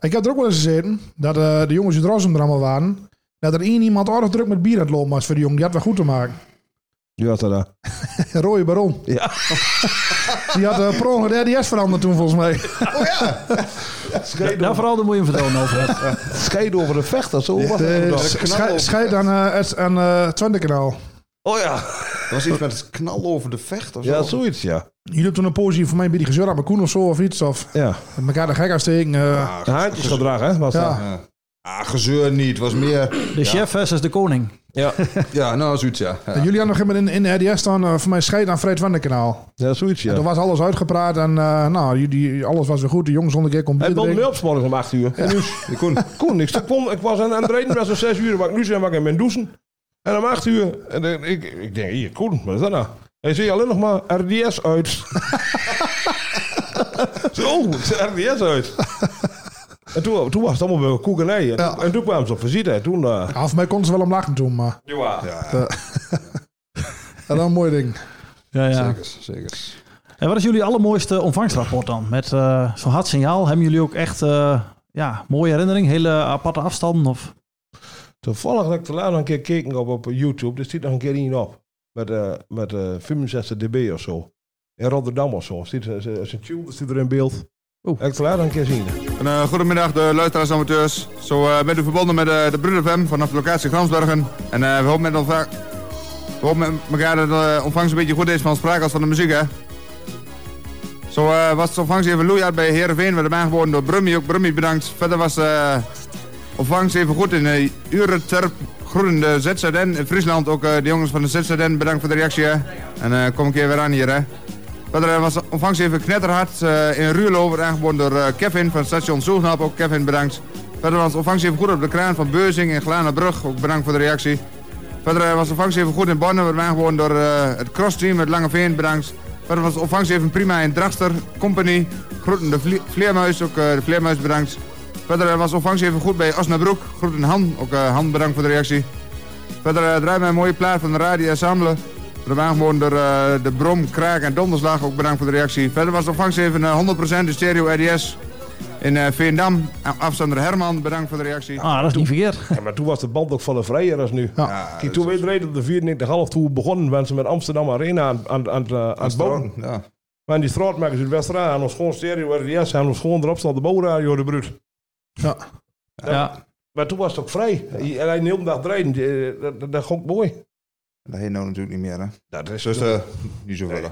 Speaker 3: Ik heb er ook wel eens gezeten dat eh, de jongens uit Rossum er allemaal waren. Dat er één iemand aardig druk met bier aan het lopen was voor de jongen. Die had wel goed te maken.
Speaker 4: Die was er daar.
Speaker 3: Rode Baron.
Speaker 4: Ja.
Speaker 3: Die had eh per ongeluk de RDS veranderd toen volgens mij.
Speaker 1: Da- Daar vooral de moet je hem vertellen, Alfred.
Speaker 4: Scheiden over de vechter, zo was het
Speaker 3: Eh,
Speaker 4: dan.
Speaker 3: sch- schei- Scheid aan eh, het aan, eh, het Twente-kanaal.
Speaker 4: Oh ja.
Speaker 2: Er was iets met knal over de vecht of zo.
Speaker 4: Ja, zoiets, ja.
Speaker 3: Jullie hebben toen een positie voor mij bij die gezeur aan mijn koen of zo of iets. Of
Speaker 4: Ja.
Speaker 3: elkaar de gek afsteken. eh,
Speaker 4: Een haantjesgedrag, hè, was dat.
Speaker 3: ja.
Speaker 2: Ah, gezeur niet. Het was meer...
Speaker 1: De chef versus de koning.
Speaker 4: Ja.
Speaker 2: Ja, nou, zoiets, ja. ja.
Speaker 3: En jullie hadden nog helemaal in, in de RDS staan eh, voor mij scheid aan Fred Twente-kanaal.
Speaker 4: Ja, zoiets, ja.
Speaker 3: Er was alles uitgepraat en eh, nou, jullie, alles was weer goed. De jongens zonder keer kon
Speaker 4: Hij
Speaker 3: bier
Speaker 4: bond
Speaker 3: drinken.
Speaker 4: me op 's morgens om 8 uur. En nu is-
Speaker 2: Die Koen.
Speaker 4: Koen, ik, stak- kom, ik was aan, aan het rijden, was om 6 uur, waar ik nu zijn, waar ik in mijn douchen. En om 8 uur, en dan- ik, ik denk, hier, Koen, wat is dat nou? Hij zei alleen nog maar RDS uit. Zo, het is RDS uit. En toen, toen was het allemaal weer koekenij. En,
Speaker 3: Ja.
Speaker 4: toen- en toen kwamen ze op visite. En toen... eh,
Speaker 3: Ja, voor mij konden ze wel om lachen toen, maar
Speaker 4: ja.
Speaker 3: dat was een mooi ding.
Speaker 1: Ja, ja.
Speaker 2: Zeker, zeker.
Speaker 1: En wat is jullie allermooiste ontvangstrapport dan? Met eh, zo'n hard signaal. Hebben jullie ook echt eh, ja, mooie herinnering? Hele aparte afstanden? Of...
Speaker 4: Toevallig dat ik te laat nog een keer keken op, op YouTube. Er zit nog een keer in op. Met, eh met eh 65 dB of zo. In Rotterdam of zo. Zit, eh, is, is een tune dat zit er in beeld.
Speaker 1: Oeh.
Speaker 4: Heb Ik te laat nog een keer zien.
Speaker 9: En, eh, goedemiddag, de luisteraars en amateurs. Zo eh, bent u verbonden met eh, de Bruder FM vanaf de locatie Gramsbergen. En eh, we hopen met, elva- we hopen met elkaar dat de ontvangst een beetje goed is van sprake als van de muziek, hè. Zo eh, was de ontvangst even loeihard bij Heerenveen. Werd hem aangeboden door Brummy. Ook Brummy bedankt. Verder was eh ontvangst even goed in eh Ureterp, Groen, de ZZN in Friesland. Ook eh, de jongens van de ZZN bedankt voor de reactie, hè. En eh, kom een keer weer aan hier, hè. Verder eh, was de ontvangst even knetterhard eh, in Ruurlo. Werd aangeboden door eh, Kevin van station Zoegnap. Ook Kevin bedankt. Verder was de ontvangst even goed op de kraan van Beuzing in Glanenbrug. Ook bedankt voor de reactie. Verder eh, was de ontvangst even goed in Bonn. Werd aangeboden door eh, het crossteam uit Langeveen. Bedankt. Verder was de ontvangst even prima in Drachter Company. Groeten de vlie- Vleermuis. Ook eh, de Vleermuis bedankt. Verder eh, was de ontvangst even goed bij Osnabroek. Groeten Han. Ook eh, Han bedankt voor de reactie. Verder eh, draait mij een mooie plaat van de Radio Ensemble. We waren gewoon door eh, de Brom, Kraak en Donderslag. Ook bedankt voor de reactie. Verder was de ontvangst even eh, 100% de stereo RDS in eh Veendam. A- Afstander Herman, bedankt voor de reactie.
Speaker 1: Ah, dat is niet verkeerd.
Speaker 4: Ja, maar toen was de band ook veel vrijer als nu.
Speaker 3: Ja.
Speaker 4: Kijk, toen we reden op de 94 toen begonnen waren ze met Amsterdam Arena aan, aan, aan, het, eh, aan het bouwen.
Speaker 2: Ja.
Speaker 4: Maar die straatmakers uit Westeraan hadden ons gewoon stereo RDS. Hadden ons gewoon erop staan de bouwradio de bruut.
Speaker 3: Ja.
Speaker 1: Ja.
Speaker 4: Maar toen was het ook vrij. En hij neemt dag rijden. eh, Dat, dat, dat ging mooi.
Speaker 2: Dat heet nou natuurlijk niet meer, hè.
Speaker 4: Dat is
Speaker 2: Dus eh, niet zoveel. hè.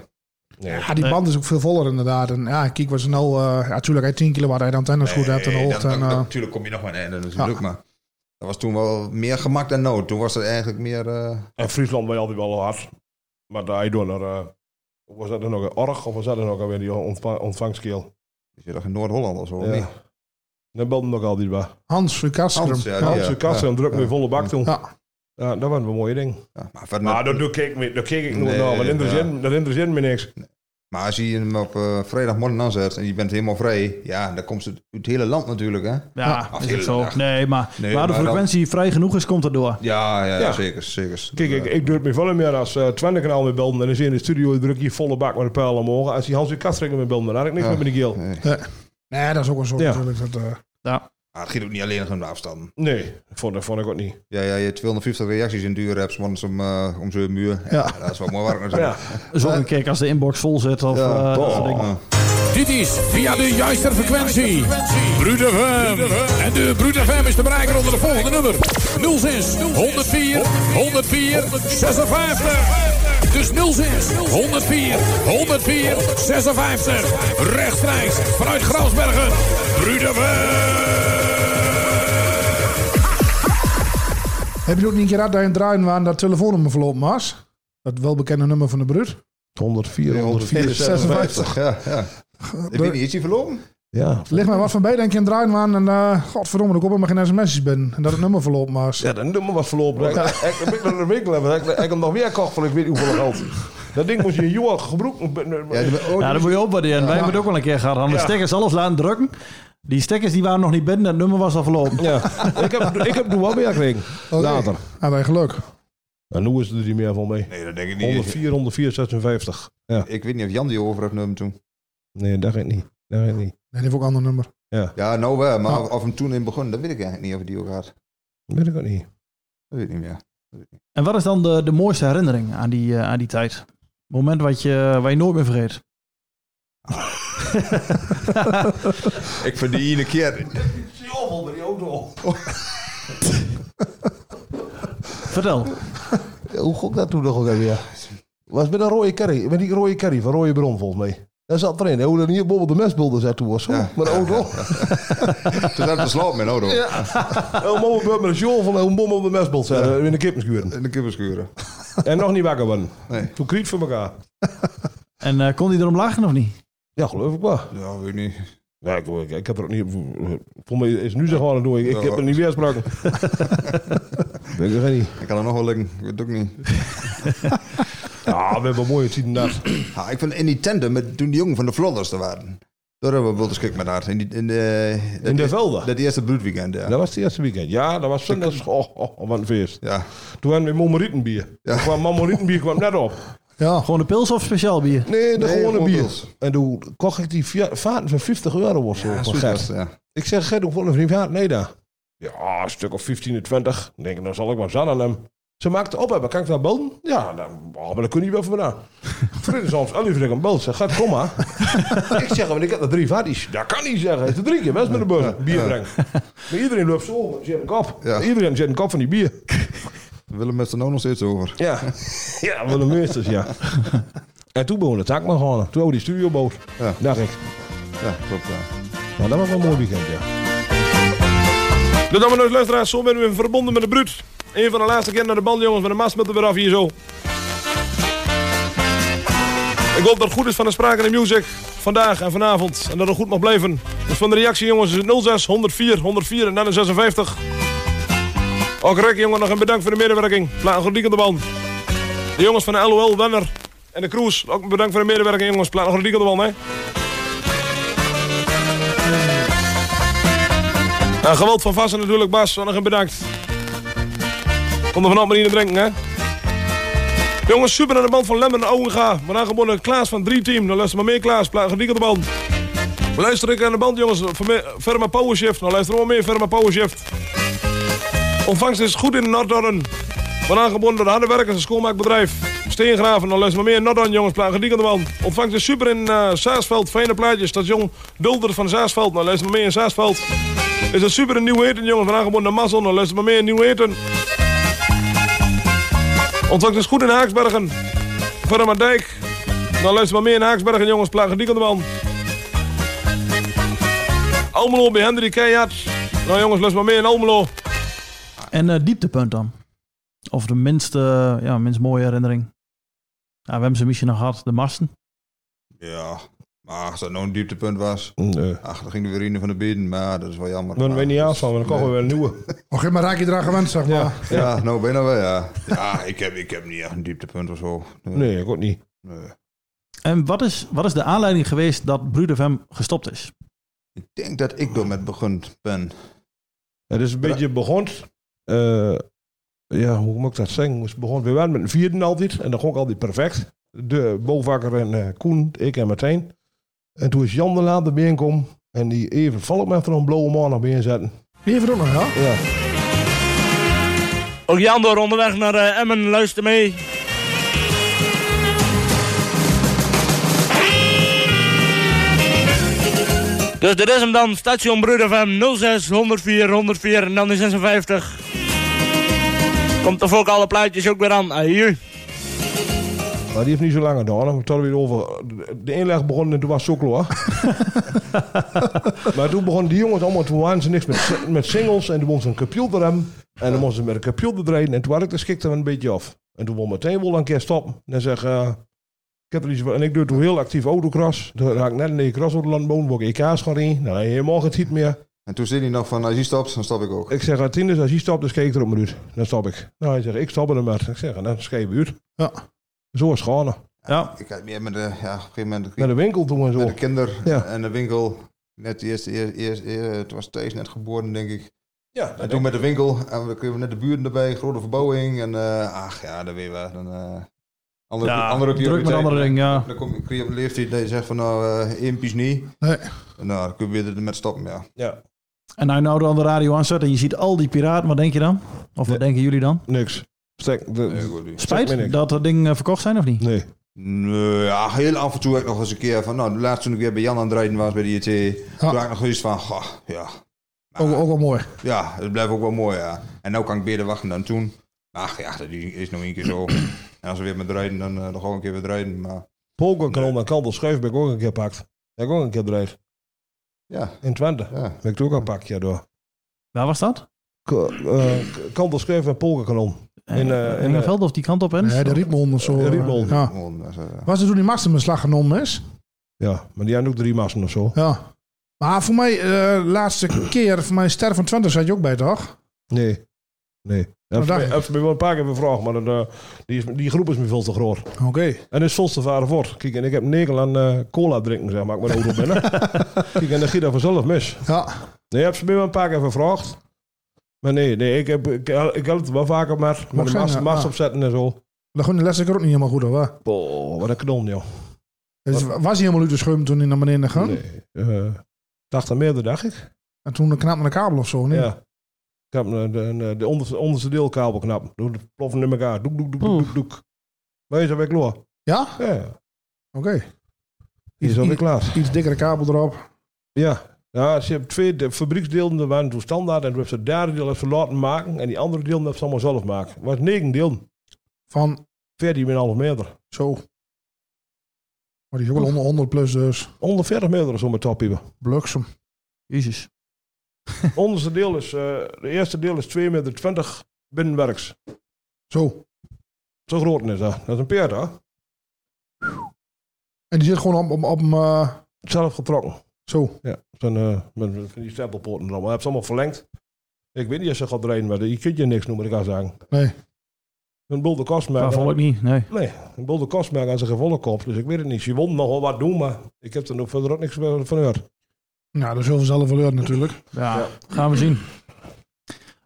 Speaker 4: Nee.
Speaker 3: Ja, die band is ook veel voller inderdaad. En ja, kijk wat ze nou... eh ja, tuurlijk, hij 10 kilowatt hij antennes goed hebt en
Speaker 2: Nee,
Speaker 3: hoogte.
Speaker 2: dan-
Speaker 3: en,
Speaker 2: dan-
Speaker 3: eh,
Speaker 2: natuurlijk kom je nog maar een einde natuurlijk, maar... Dat was toen wel meer gemak dan nood. Toen was het eigenlijk meer... eh,
Speaker 4: En Friesland ben je altijd wel hard. Maar daar door naar. eh, was dat dan nog een org of was dat dan ook alweer die ontva ontvangstkeel?
Speaker 2: is je toch in Noord-Holland of zo? of
Speaker 4: Ja.
Speaker 2: niet?
Speaker 4: Dan belde nog altijd waar.
Speaker 3: Hans Vukaskrum.
Speaker 2: Hans, ja,
Speaker 4: Ja, eh,
Speaker 2: die-
Speaker 4: Als je kassen en druk
Speaker 2: ja.
Speaker 4: met volle bak toen. Ja.
Speaker 3: Ja.
Speaker 4: dat was een mooie ding.
Speaker 2: Ja, maar, verder-
Speaker 4: Maar daar, daar keek, me- daar keek ik nooit
Speaker 2: Nee,
Speaker 4: naar, want
Speaker 2: ja.
Speaker 4: interesseert- dat interesseert me niks.
Speaker 2: maar als je hem op eh, vrijdagmorgen aanzet en je bent helemaal vrij... Ja, dan komt ze uit het hele land natuurlijk, hè.
Speaker 1: Ja,
Speaker 2: Ach,
Speaker 1: is het
Speaker 2: heel
Speaker 1: zo.
Speaker 2: erg.
Speaker 1: Nee, maar
Speaker 2: Nee,
Speaker 1: waar de
Speaker 2: maar dan-
Speaker 1: frequentie vrij genoeg is, komt dat door.
Speaker 2: Ja, ja,
Speaker 4: Ja.
Speaker 2: zeker, zeker. Eh,
Speaker 4: Kijk, ik, ik doe het me veel meer als eh Twente kanaal mee belden. En dan zie je in de studio druk je volle bak met een pijl omhoog. Als die Hans Kastring mee belden, dan had ik niks
Speaker 2: Ja.
Speaker 4: meer met die keel.
Speaker 2: Nee.
Speaker 3: Nee, dat is ook een soort
Speaker 4: Ja.
Speaker 3: natuurlijk. Dat, eh,
Speaker 2: Maar ah, het ging ook niet alleen om de afstanden.
Speaker 4: Nee, vond, dat vond ik ook niet.
Speaker 2: Ja, ja, je hebt 250 reacties in duur hebt, want om, eh, om zo'n muur. Ja,
Speaker 3: Ja.
Speaker 2: Dat is wel mooi werk natuurlijk. oh,
Speaker 4: Ja.
Speaker 1: Dus ook een keer als de inbox vol zit. Of, eh, dat soort dingen.
Speaker 2: Eh, Ja.
Speaker 6: Dit is via de juiste frequentie. Bruut FM. En de Bruut FM is te bereiken onder de volgende nummer. 06 104 104 56. Dus 06 104 104 56. Rechtstreeks vanuit Grasbergen. Bruut
Speaker 3: Heb je ook niet een keer gehad dat je aan het draaien waren dat telefoonnummer verlopen was? Dat welbekende nummer van de bruut.
Speaker 4: 104,
Speaker 2: 104, 56. Ja, ja. Ik weet niet, is die verloren?
Speaker 4: Ja,
Speaker 3: Ligt mij wat van bij dat ik aan het draaien waren en eh godverdomme, dat ik op maar geen sms'jes ben. En dat het nummer verlopen was.
Speaker 4: Ja, dat nummer was verlopen. Ik, ik, ik ben naar de winkel hebben. Ik, ik heb hem nog meer kocht voor ik weet niet hoeveel geld. Dat ding moest je een jaar gebroken.
Speaker 2: Ja, die- oh,
Speaker 1: Ja, dat moet je opwaarderen. Wij hebben het ook wel een keer gehad. Hadden de
Speaker 4: Ja.
Speaker 1: stekkers alles laten drukken. Die stekkers die waren nog niet binnen. Dat nummer was al verlopen.
Speaker 4: Ja. Ik heb, ik heb toen wel meer gekregen.
Speaker 3: Oké.
Speaker 4: Later.
Speaker 3: Had hij geluk.
Speaker 4: En hoe is er niet meer van mee?
Speaker 2: nee, dat denk ik niet.
Speaker 4: 104, 104, 56. Ja.
Speaker 2: Ik weet niet of Jan die over heeft nummer toen.
Speaker 4: Nee, dat ging niet. Dat ging niet.
Speaker 3: Nee, die heeft ook een ander nummer.
Speaker 2: Ja, nou wel, maar of, of hem toen in begon, dat weet ik eigenlijk niet of hij die ook had.
Speaker 4: Dat weet ik ook niet.
Speaker 2: Dat weet ik niet meer.
Speaker 1: En wat is dan de, de mooiste herinnering aan die, eh, aan die tijd? Moment wat je, waar je nooit meer vergeet.
Speaker 2: Ik verdien een keer.
Speaker 4: Jovel bij die auto.
Speaker 1: Vertel.
Speaker 4: Hoe gok dat toen nog ook weer? Was met een rode kerry, met die rode kerry van rode bron volgens mij. Daar zat erin, hè, hoe dan hier bobbel de mesbulder zat toen was. zo. Met de auto.
Speaker 2: Toen had ik besloten met auto.
Speaker 4: Een mom op met een jovel en een bom op de mesbult zat eh, in de kippenskuren.
Speaker 2: In de kipperschuren.
Speaker 4: En nog niet wakker worden.
Speaker 2: Nee.
Speaker 4: Toen kriet voor elkaar.
Speaker 1: En eh, kon die erom lachen of niet?
Speaker 4: Ja, geloof ik wel.
Speaker 2: Ja, weet ik niet.
Speaker 4: Ja, ik, ik, ik heb er ook niet. Voor mij is nu zeg maar een doei. Ik
Speaker 2: Ja.
Speaker 4: heb er niet weer gesproken. Weet ik er niet.
Speaker 2: Ik kan er nog wel liggen. Ik weet het ook niet.
Speaker 4: Ja, we hebben mooi het zien inderdaad.
Speaker 2: Ja, Nou, ik vind in die tenten, met, toen die jongen van de Vlodders er waren. Daar hebben we wel de schik met haar. In, die, in de,
Speaker 4: In de velden.
Speaker 2: Dat eerste bloedweekend, ja.
Speaker 4: Dat was het eerste weekend. Ja, dat was zondags. Oh, oh, wat een feest.
Speaker 2: Ja,
Speaker 4: Toen hadden we Mamorietenbier. Ja. Kwam Mamorietenbier kwam net op.
Speaker 3: Ja.
Speaker 1: Gewoon een pils of speciaal bier?
Speaker 4: Nee, de
Speaker 2: Nee,
Speaker 4: gewone
Speaker 2: gewoon
Speaker 4: bier.
Speaker 2: pils.
Speaker 4: En toen kocht ik die via- vaten van 50 euro of zo.
Speaker 2: ja,
Speaker 4: van
Speaker 2: zoiets
Speaker 4: Gert.
Speaker 2: was het, ja.
Speaker 4: Ik zeg, Gert, hoe een vriend vaat? Nee, daar. Ja, een stuk of 15 en 20. Ik denk, dan zal ik maar zan aan hem. Ze maakt op hebben. Kan ik daar belden? Ja, dan, oh, maar dat kun je wel van me Vrienden soms, en nu vind ik een belt. Ze gaat, kom maar. ik zeg, maar ik heb er drie vaties. Dat kan niet zeggen. Het is drie keer best met de bus. Bier brengen. Maar iedereen loopt zo. Ze hebben een kop.
Speaker 2: Ja.
Speaker 4: Iedereen zet een kop van die bier.
Speaker 2: We willen met z'n allen nog steeds over.
Speaker 4: Ja, ja Willem Meesters, ja. En toen begon de taak maar gaan. Toen hadden we die studioboot.
Speaker 2: Ja.
Speaker 4: Dacht ik.
Speaker 2: Ja, klopt. Ja.
Speaker 4: Nou, dat was wel een mooi weekend, ja. De dames en heren luisteraars, zo ben we verbonden met de Bruut. Een van de laatste keer naar de bal, jongens, met de mast moeten we eraf hier zo. Ik hoop dat het goed is van de sprake en de music vandaag en vanavond. En dat het goed mag blijven. Dus van de reactie, jongens, is het 06 104 104 en dan een 56. Ook Rek, jongen, nog een bedankt voor de medewerking. Plaat een goed weekend op de bal. De jongens van de LOL, Wenner en de Cruise, ook bedankt voor de medewerking, jongens. Plaat een goed weekend op de bal, hè. Nou, geweld van Vassen natuurlijk, Bas. Nog een bedankt. Kom er vanaf maar niet in drinken, hè. Jongens, super naar de band van Lemmen en Owenga. Maar aangeboden Klaas van 3 Team. Dan luister maar meer Klaas. Plaat gediek op de band. We luisteren ik aan de band, jongens. Verme- Firma Power Shift. Dan luisteren we meer Firma Power Shift. Ontvangst is goed in Noordorren. Maar aangeboden door de harde werkers en schoonmaakbedrijf. Steengraven, dan luister maar meer Noordorren, jongens. Plaat gediek op de band. Ontvangst is super in eh Saasveld. Fijne plaatjes. Station Dulder van Saasveld. Dan luister maar meer in Saasveld. Is een super nieuw eten, jongens. Van aangebonden naar Mazzel. Dan luister maar meer nieuw eten. Ontvangt is goed in Haaksbergen. Verma Dijk. Dan luister maar meer in Haaksbergen, jongens. Plagen die kant man. Almelo bij Hendrik Keijert. Nou jongens, luister maar meer in Almelo.
Speaker 1: En eh, dieptepunt dan? Of de minst, eh, ja, minst mooie herinnering? Ja, we hebben ze misschien nog gehad, de masten.
Speaker 2: ja. Maar als dat nou een dieptepunt was.
Speaker 4: Nee.
Speaker 2: Ach, dan ging de urine van de bieden. Maar dat is wel jammer.
Speaker 4: Dan weet
Speaker 2: Maar-
Speaker 4: niet aanstaan, maar dan komen we weer een nieuwe.
Speaker 3: Och, Oh, maar raak je eraan gewend, zeg maar.
Speaker 4: Ja.
Speaker 2: Ja, nou bijna wel, ja. Ja, ik heb, ik heb niet echt een dieptepunt of zo.
Speaker 4: Nee, ik ook niet.
Speaker 2: Nee.
Speaker 1: En wat is, wat is de aanleiding geweest dat Broed FM gestopt is?
Speaker 2: Ik denk dat ik door met begonnen ben.
Speaker 4: Het is een beetje begonnen. eh, ja, hoe moet ik dat zeggen? Het begon weer met een vierde altijd. En dat ging altijd perfect. De Bovakker en eh, Koen, ik en Martijn. En toen is Jan de Laat erbij gekomen. En die even valk met een blauwe man nog bij zetten.
Speaker 3: Wie heeft er ook nog, ja?
Speaker 4: Ja.
Speaker 10: Ook Jan door onderweg naar eh, Emmen, luister mee. Dus dit is hem dan, station Broeder FM 06 104 104 en dan die 56. Komt er ook alle plaatjes ook weer aan. Ah, hier.
Speaker 4: Maar die heeft niet zo lang gedaan. hè. We hadden weer over. De inleg begon en toen was het zo klaar. maar toen begonnen die jongens allemaal. Toen waren ze niks met, met singles. En toen moesten ze een computer hebben. En dan moesten ze met een computer draaien. En toen had ik de schikte een beetje af. En toen won meteen wel een keer stoppen. En dan zeg eh, ik heb er iets, En ik doe toen heel actief autocross. Toen raak ik net in de cross op het land woon. Word ik EK's gaan in. Nou, helemaal geen tijd meer.
Speaker 2: En toen zei hij nog van, als je stopt, dan stop ik ook.
Speaker 4: Ik zeg, Martinus, als je stopt, dan kijk ik er op een uur. Dan stop ik. Nou, hij zegt, ik stop er maar. Ik zeg, en dan scheep uur.
Speaker 3: Ja.
Speaker 4: Zo is het gaan.
Speaker 1: Ja,
Speaker 2: Ik had meer met de, ja, op een gegeven moment
Speaker 4: Naar de winkel toen en zo.
Speaker 2: met de kinder
Speaker 4: Ja.
Speaker 2: en de winkel. Net de eerste, eerst, eerst, eerst- het was Thees net geboren, denk ik.
Speaker 4: Ja,
Speaker 2: En toen met de winkel, en we kregen net de buren erbij, grote verbouwing. En eh, ach ja, dan weer waar. Dan, eh andere,
Speaker 1: Ja,
Speaker 2: andere
Speaker 1: druk met
Speaker 2: prioriteiten.
Speaker 1: andere dingen, ja.
Speaker 2: Dan kom, kun je op een leeftijd dat je zegt van, nou, eh impies niet.
Speaker 3: Nee.
Speaker 2: En nou, dan kun je weer met stoppen, ja.
Speaker 4: Ja,
Speaker 1: En nou je nou aan de radio aanzet en je ziet al die piraten, wat denk je dan? Of wat denken jullie dan?
Speaker 4: niks. Stek, de,
Speaker 1: Spijt dat dat ding eh, verkocht zijn of niet?
Speaker 4: Nee.
Speaker 2: Nee, ja, heel af en toe heb ik nog eens een keer van, nou, laatst toen ik weer bij Jan aan het rijden was bij de IT, toen had ik nog eens van, goh, ja,
Speaker 3: Ook, ook wel mooi.
Speaker 2: ja, het blijft ook wel mooi, ja. En nou kan ik beter wachten dan toen. Maar ja, dat is nog een keer zo. En als we weer met rijden, dan eh, dan gaan we een keer weer rijden, maar...
Speaker 4: Polkanon en Kandel Schuif ben ik ook een keer gepakt. Heb ik ook een keer bedreigd.
Speaker 2: Ja.
Speaker 4: In Twente. Ben ik toen ook een pakje door.
Speaker 1: Waar was dat?
Speaker 4: Kandel Schuif en Polkanon. In, eh,
Speaker 1: In,
Speaker 4: in,
Speaker 1: een
Speaker 4: eh,
Speaker 1: veld of die kant op, hè?
Speaker 3: Nee, de Rietmond of zo. eh,
Speaker 4: in Rietmond.
Speaker 3: Ja.
Speaker 2: eh,
Speaker 3: Was er toen die masterbeslag genomen is?
Speaker 4: Ja, maar die hadden ook drie massen of zo.
Speaker 3: Ja. Maar voor mij, eh, laatste keer, voor mijn Ster van Twente zat je ook bij, toch?
Speaker 4: Nee. Nee. Dat
Speaker 3: Dat dacht ik.
Speaker 4: heb me wel een paar keer bevraagd, maar dat, eh, die, is, die groep is me veel te groot.
Speaker 3: Oké.
Speaker 4: En is veel te varen voort. Kijk, en ik heb nekel aan eh, cola drinken, zeg maar, ik ben ouder binnen. Kijk, en dan gaat dat vanzelf mis.
Speaker 3: Ja.
Speaker 4: Nee, heb ze me wel een paar keer gevraagd. Maar nee, nee ik, heb, ik, ik had het wel vaker met, met de
Speaker 3: zijn,
Speaker 4: mast,
Speaker 3: ja. Ah.
Speaker 4: mast
Speaker 3: Ja.
Speaker 4: opzetten en zo.
Speaker 3: Dan gewoon de les ik er ook niet helemaal goed, hoor. hè?
Speaker 4: Boah, Oh, wat een knol, joh.
Speaker 3: Dus was hij helemaal uit de schuim toen hij naar beneden ging?
Speaker 4: Nee. eh, dacht aan meerdere, dacht ik.
Speaker 3: En toen knap met een kabel of zo, nee?
Speaker 4: Ja. Ik heb een- een- een- de onderste, onderste deelkabel knap. Doe de ploffen in elkaar. Doek, doek, doek, doek, doek, doek. Maar je is alweer klaar.
Speaker 3: Ja?
Speaker 4: Ja.
Speaker 3: Oké.
Speaker 4: Je is alweer
Speaker 3: Iets-
Speaker 4: klaar.
Speaker 3: Iets dikkere kabel erop.
Speaker 4: Ja. Ja, ze hebben twee de fabrieksdelen, dat waren toen standaard. En toen hebben ze het derde deel hebben ze laten maken. En die andere deel hebben ze allemaal zelf maken. Het was negen delen.
Speaker 3: Van,
Speaker 4: 14,5 meter.
Speaker 3: zo. Maar die is ook wel onder 100 plus, dus.
Speaker 4: 140 meter is om het top hebben.
Speaker 3: Bliksem.
Speaker 1: Jezus.
Speaker 4: Onderste deel is, eh, de eerste deel is 2,20 meter binnenwerks.
Speaker 3: Zo.
Speaker 4: Zo groot is dat. Dat is een peer, hè?
Speaker 3: En die zit gewoon op, op, op hem, eh,
Speaker 4: Zelf getrokken.
Speaker 3: zo.
Speaker 4: Ja, zijn, eh, met, met van die stempelpoorten en allemaal. Hebben ze allemaal verlengd. Ik weet niet of ze gaat draaien, maar je kunt je niks noemen, ik kan zeggen.
Speaker 3: Nee.
Speaker 4: Een bulde kostmerk.
Speaker 1: Dat vond ik niet, nee.
Speaker 4: Nee, een bulde kostmerk aan zijn gevolle kop. Dus ik weet het niet. Ze won nog wel wat doen, maar ik heb er nog verder ook niks meer van gehoord.
Speaker 3: Nou, dat is heel veel zelf wel uit, natuurlijk.
Speaker 1: Ja, gaan we zien.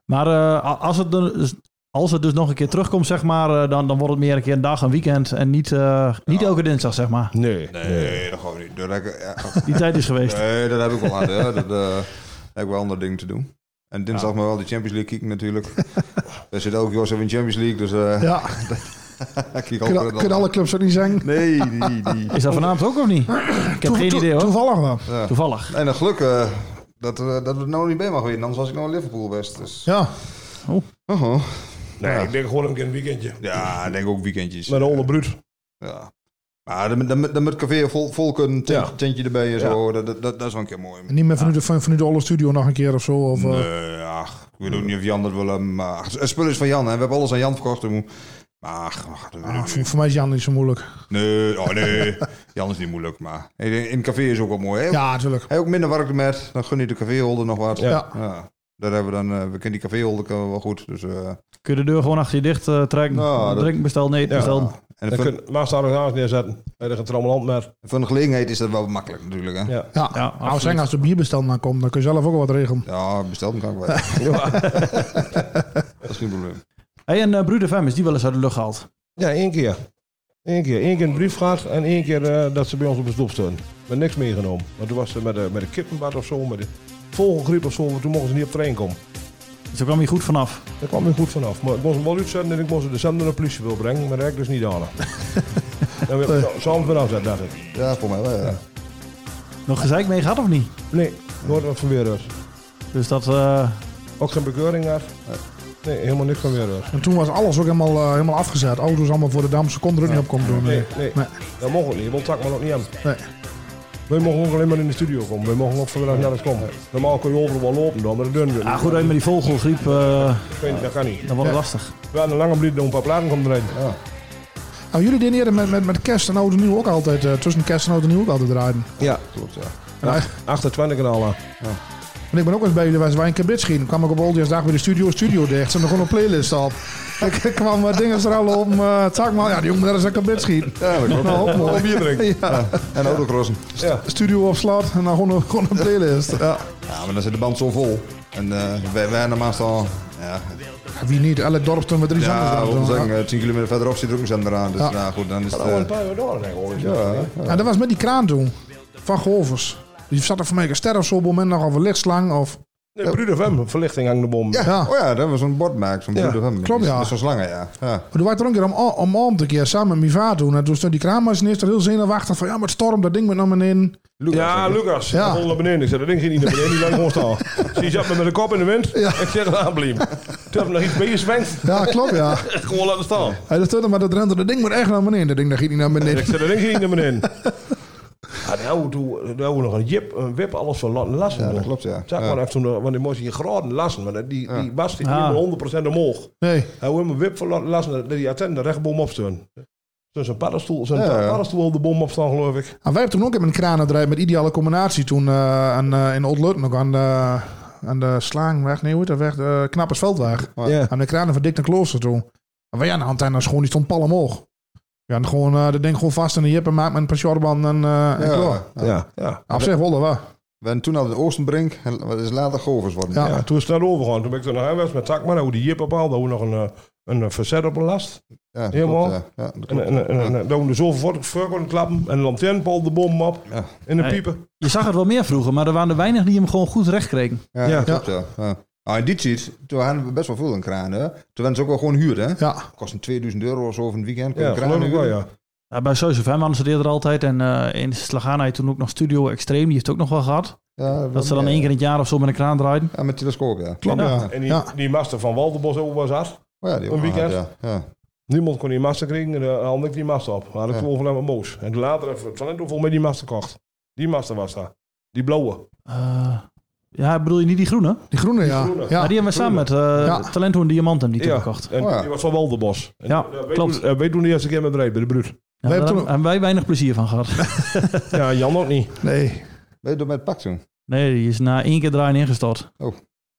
Speaker 1: Maar eh, a- als, het er, dus- als het dus nog een keer terugkomt, zeg maar, eh, dan, dan wordt het meer een keer een dag, een weekend en niet, eh, niet elke dinsdag, zeg maar.
Speaker 4: Nee.
Speaker 2: Nee, dat gaan we niet. Dat heb ik, ja.
Speaker 1: Die tijd is geweest.
Speaker 2: Nee, dat heb ik wel gehad. hè. Dat eh, heb ik wel andere dingen te doen. En dinsdag maar wel de Champions League kijken natuurlijk. Daar zit elke jaar zo in de Champions League, dus eh
Speaker 3: Ja.
Speaker 2: ik kijk
Speaker 3: Kunnen
Speaker 2: altijd
Speaker 3: kunnen alle clubs dat niet zeggen?
Speaker 2: Nee, die, die.
Speaker 1: Is dat vanavond ook of niet? Ik heb
Speaker 3: Toe-
Speaker 1: geen
Speaker 3: toe-
Speaker 1: idee hoor.
Speaker 3: Toevallig wel.
Speaker 2: Ja.
Speaker 1: Toevallig.
Speaker 2: En dan geluk eh, dat, eh, dat we het nou niet bij mag winnen, anders was ik nou in Liverpool best. Dus.
Speaker 3: Ja.
Speaker 2: Oh, oh.
Speaker 4: Nee, ik denk gewoon een keer een weekendje.
Speaker 2: Ja, ik denk ook weekendjes.
Speaker 4: Met een holle bruut.
Speaker 2: Ja. Maar dan, met- dan, met- dan met café vol, vol kunnen, tent-
Speaker 4: Ja.
Speaker 2: tentje erbij en zo, dat, dat, dat, dat is wel een keer mooi.
Speaker 3: En niet meer vanuit, de, van- vanuit de Olle Studio nog een keer of zo. Of, eh,
Speaker 2: Nee, ach, ik weet ook niet of Jan dat wil hebben, maar ach, het spul is van Jan, hè. we hebben alles aan Jan verkocht. Maar ach, ach, dat weet ik
Speaker 3: ah,
Speaker 2: niet.
Speaker 3: voor, voor mij is Jan niet zo moeilijk.
Speaker 2: Nee, oh nee. Jan is niet moeilijk, maar in in het café is ook wel mooi. Hè?
Speaker 3: Ja, natuurlijk.
Speaker 2: Hij ook minder werk met, dan gun je de caféholder nog wat.
Speaker 3: Ja.
Speaker 2: Daar hebben we dan, eh, we kennen die caféholder kennen we wel goed. Dus, eh,
Speaker 1: Kun je de deur gewoon achter je dicht eh, trekken.
Speaker 2: Nou, dat-
Speaker 1: Drink bestel, nee, bestel.
Speaker 2: en
Speaker 4: Dan
Speaker 2: voor,
Speaker 4: kun je Maastarigans neerzetten. Bij de getrommeland met.
Speaker 2: voor een gelegenheid is dat wel makkelijk natuurlijk. Hè? Ja.
Speaker 4: Ja.
Speaker 3: Ja.
Speaker 1: Ja,
Speaker 3: Nou, we
Speaker 1: absoluut.
Speaker 3: zeggen als de bierbestand dan komt, dan kun je zelf ook wel wat regelen.
Speaker 2: bestel hem kan ik wel. dat is geen probleem.
Speaker 1: Hey, en eh Brude Fem, is die wel eens uit de lucht gehaald?
Speaker 4: Ja, één keer. Eén keer. Eén keer een brief gehad en één keer eh, dat ze bij ons op de stoep stonden. Met niks meegenomen. Maar toen was ze met, de met een kippenbad of zo, met de vogelgriep of zo, maar toen mochten ze niet op trein komen.
Speaker 1: Dus daar kwam je goed vanaf.
Speaker 4: Daar kwam ik goed vanaf. Maar ik moest hem wel uitzetten en ik moest de december naar de politie wil brengen, maar dat heb ik dus niet aan. Dan heb ik samen weer afzet, dacht ik.
Speaker 2: Ja, voor mij wel. Ja.
Speaker 1: Nog gezeik mee gehad of niet?
Speaker 4: Nee, nooit wat van weerhuis.
Speaker 1: Dus dat, eh,
Speaker 4: Ook geen bekeuring had. Nee, helemaal niks van weerhuis.
Speaker 3: En toen was alles ook helemaal, eh, helemaal afgezet. Auto's allemaal voor de dam. Ze konden er ook niet op komen doen.
Speaker 4: Nee,
Speaker 3: Nee.
Speaker 4: nee.
Speaker 3: Nee.
Speaker 4: Dat mocht ook niet. Want tak maar ook niet aan.
Speaker 3: Nee.
Speaker 4: Wij mogen ook alleen maar in de studio komen. Wij mogen ook vanmiddag naar de komen. Normaal kun je overal wel lopen dan, maar dat doen we niet.
Speaker 1: ah, goed, alleen met die vogelgriep, eh,
Speaker 4: Geen- Dat kan niet.
Speaker 1: dan wordt het lastig.
Speaker 4: We hadden een lange bliep om een paar platen komt erin. Ja.
Speaker 3: Nou, jullie dineren met, met, met kerst en oud en nieuw ook altijd. eh, tussen kerst en oud en nieuw ook altijd rijden.
Speaker 4: ja.
Speaker 2: Klopt, ja.
Speaker 3: Ja.
Speaker 4: 28 kanalen.
Speaker 3: Want ik ben ook eens bij jullie was wij een keer bitschieten. Dan kwam ik op Oldjaarsdag bij de studio, studio dicht. Ze hadden gewoon een playlist op. Ik kwam eh, dingen stralen om. eh Takman, ja, die jongen daar is lekker bitschieten.
Speaker 2: Ja, dat klopt.
Speaker 3: Nou, ook mooi.
Speaker 4: Om bier drinken.
Speaker 3: Ja,
Speaker 2: En autocrossen.
Speaker 4: Ja.
Speaker 3: studio op slot en dan gewoon een, gewoon een playlist. Ja.
Speaker 2: Ja, maar dan zit de band zo vol. En eh, wij, wij normaal al, ja,
Speaker 3: Wie niet? Elk dorp toen we drie zangers
Speaker 2: ja
Speaker 3: daar
Speaker 2: we
Speaker 3: doen.
Speaker 2: zeggen, eh, 10 kilometer verderop zit er ook een zender aan. Dus
Speaker 3: Ja.
Speaker 2: ja. goed, dan is het...
Speaker 4: Oh,
Speaker 2: eh,
Speaker 4: een paar uur door denk ik. hoor.
Speaker 2: ja,
Speaker 3: Ja, dat was met die kraan toen. Van Golvers. Die zat er voor mij een ster of zo op het moment nog over lichtslang. Of
Speaker 4: Nee, Bruder FM, verlichting hangt de bom.
Speaker 2: Ja, Oh ja, dat was een bord maken, zo'n
Speaker 3: Ja,
Speaker 2: broeder van me.
Speaker 3: klopt, ja.
Speaker 2: Dat is Zo'n slangen, ja. ja.
Speaker 3: Maar toen waren er ook een keer om, om, om te keer samen met mijn vader toen. En toen stond die kraamachinist er heel zenuwachtig van... Ja, maar het storm, dat ding moet naar beneden.
Speaker 4: ja, Lucas.
Speaker 3: Ja.
Speaker 4: Ja. Vol naar beneden. Ik zei, dat ding ging niet naar beneden. Die blijft gewoon staan. Dus Die zat me met de kop in de wind. Ik zeg, het aanblijven. Toen heb ik nog iets mee gezwenkt.
Speaker 3: Ja, klopt, ja.
Speaker 4: gewoon laten staan.
Speaker 3: Hij dat stond er maar dat rente, dat ding moet echt naar beneden. Dat ding, dat ging niet naar
Speaker 4: Ik
Speaker 3: beneden.
Speaker 4: zei, dat ding ging niet naar beneden. Ja, daar hebben we toen- daar hebben we nog een jip, een wip, alles van laten lassen.
Speaker 2: Ja, dat
Speaker 4: doen.
Speaker 2: klopt, ja.
Speaker 4: Zeg
Speaker 2: Ja.
Speaker 4: maar even toen, eh, want die moest je graden lassen. Maar die, die bas die ging
Speaker 3: Ah.
Speaker 4: maar 100% omhoog.
Speaker 3: Nee.
Speaker 4: Hij wil mijn wip van laten lassen, dat die attend de rechtboom opsturen. Dus een paddenstoel, zijn
Speaker 3: Ja, ja.
Speaker 4: paddenstoel op de bom opstaan, geloof ik.
Speaker 3: En Nou, wij hebben toen ook even een kranendrijf met ideale combinatie toen eh, aan, eh, in Old-Lutten. Ook aan de, aan de Slaangweg, nee hoe heet dat weg? De eh, Knappersveldweg.
Speaker 4: Ja.
Speaker 3: Aan de kranen van Dick de Klooster toen. En wij aan de antenne schoon, die stond pal omhoog. Ja, en gewoon eh dat ding gewoon vast in de jip en maakt met een pasjorban en, eh en klaar. Nou,
Speaker 4: Ja. ja.
Speaker 3: Op zich wel, dat wel.
Speaker 2: We zijn toen al de Oostenbrink, en dat is later Govers worden.
Speaker 3: Ja.
Speaker 4: Ja, toen is het naar overgegaan. Toen ben ik er naar huis met Takman, hoe die jip bepaald, hoe nog een, eh, een eh, verzet op een last.
Speaker 2: Ja, dat
Speaker 4: Helemaal.
Speaker 2: klopt, ja. Ja, dat
Speaker 4: En,
Speaker 2: klopt.
Speaker 4: en, en, en, en dan de zoveel voor klappen en een lantaarnpaal de bom op
Speaker 2: Ja.
Speaker 4: en een
Speaker 1: Nee.
Speaker 4: piepen.
Speaker 1: Je zag het wel meer vroeger, maar er waren er weinig die hem gewoon goed recht kregen.
Speaker 2: Ja,
Speaker 4: Ja.
Speaker 2: dat klopt, ja. ja. Nou, in die tijd, toen hadden we best wel veel een kraan, hè. Toen werden ze ook wel gewoon huur, hè.
Speaker 3: Ja.
Speaker 2: Kostte 2000 euro of zo over een weekend. kon je
Speaker 4: Ja,
Speaker 2: een kraan
Speaker 4: geloof ik wel,
Speaker 2: huren.
Speaker 4: ja.
Speaker 1: Ja, bij Zeus of Hemman ze er altijd. En eh, in Slagana had je toen ook nog Studio Extreme, die heeft het ook nog wel gehad.
Speaker 2: Ja,
Speaker 1: Dat ze dan één keer in het jaar of zo met een kraan draaiden.
Speaker 2: Ja, met telescoop, ja.
Speaker 3: Klopt, ja.
Speaker 4: En die,
Speaker 3: Ja.
Speaker 4: die master van Waldenbos over was af.
Speaker 2: Oh, ja, die
Speaker 4: Een
Speaker 2: ook
Speaker 4: weekend.
Speaker 2: hard, Ja, ja.
Speaker 4: Niemand kon die master krijgen en eh, dan had ik die master op. Dan had ik
Speaker 2: Ja.
Speaker 4: gewoon van hem een moos. En later heeft Van Lento volgens mij die master kocht. Die master was daar. Die blauwe.
Speaker 1: Eh, ja, bedoel je niet die groene?
Speaker 3: Die groene, ja.
Speaker 4: groene.
Speaker 3: ja.
Speaker 1: maar die hebben we samen met eh
Speaker 3: Ja.
Speaker 1: Talento en Diamant hebben die
Speaker 4: Ja.
Speaker 1: toen gekocht.
Speaker 4: En
Speaker 2: Oh, ja.
Speaker 4: die was van Waldenbos. En
Speaker 1: Ja,
Speaker 4: eh, wij
Speaker 1: klopt.
Speaker 4: Doen, eh, wij doen de eerste keer met rijden bij de bruut.
Speaker 1: Ja,
Speaker 3: Wij
Speaker 1: daar
Speaker 3: hebben toen-
Speaker 1: hebben wij weinig plezier van gehad.
Speaker 4: Ja, Jan ook niet.
Speaker 3: Nee.
Speaker 2: Ben je door met het pak toen?
Speaker 1: Nee, die is na één keer draaien ingestort.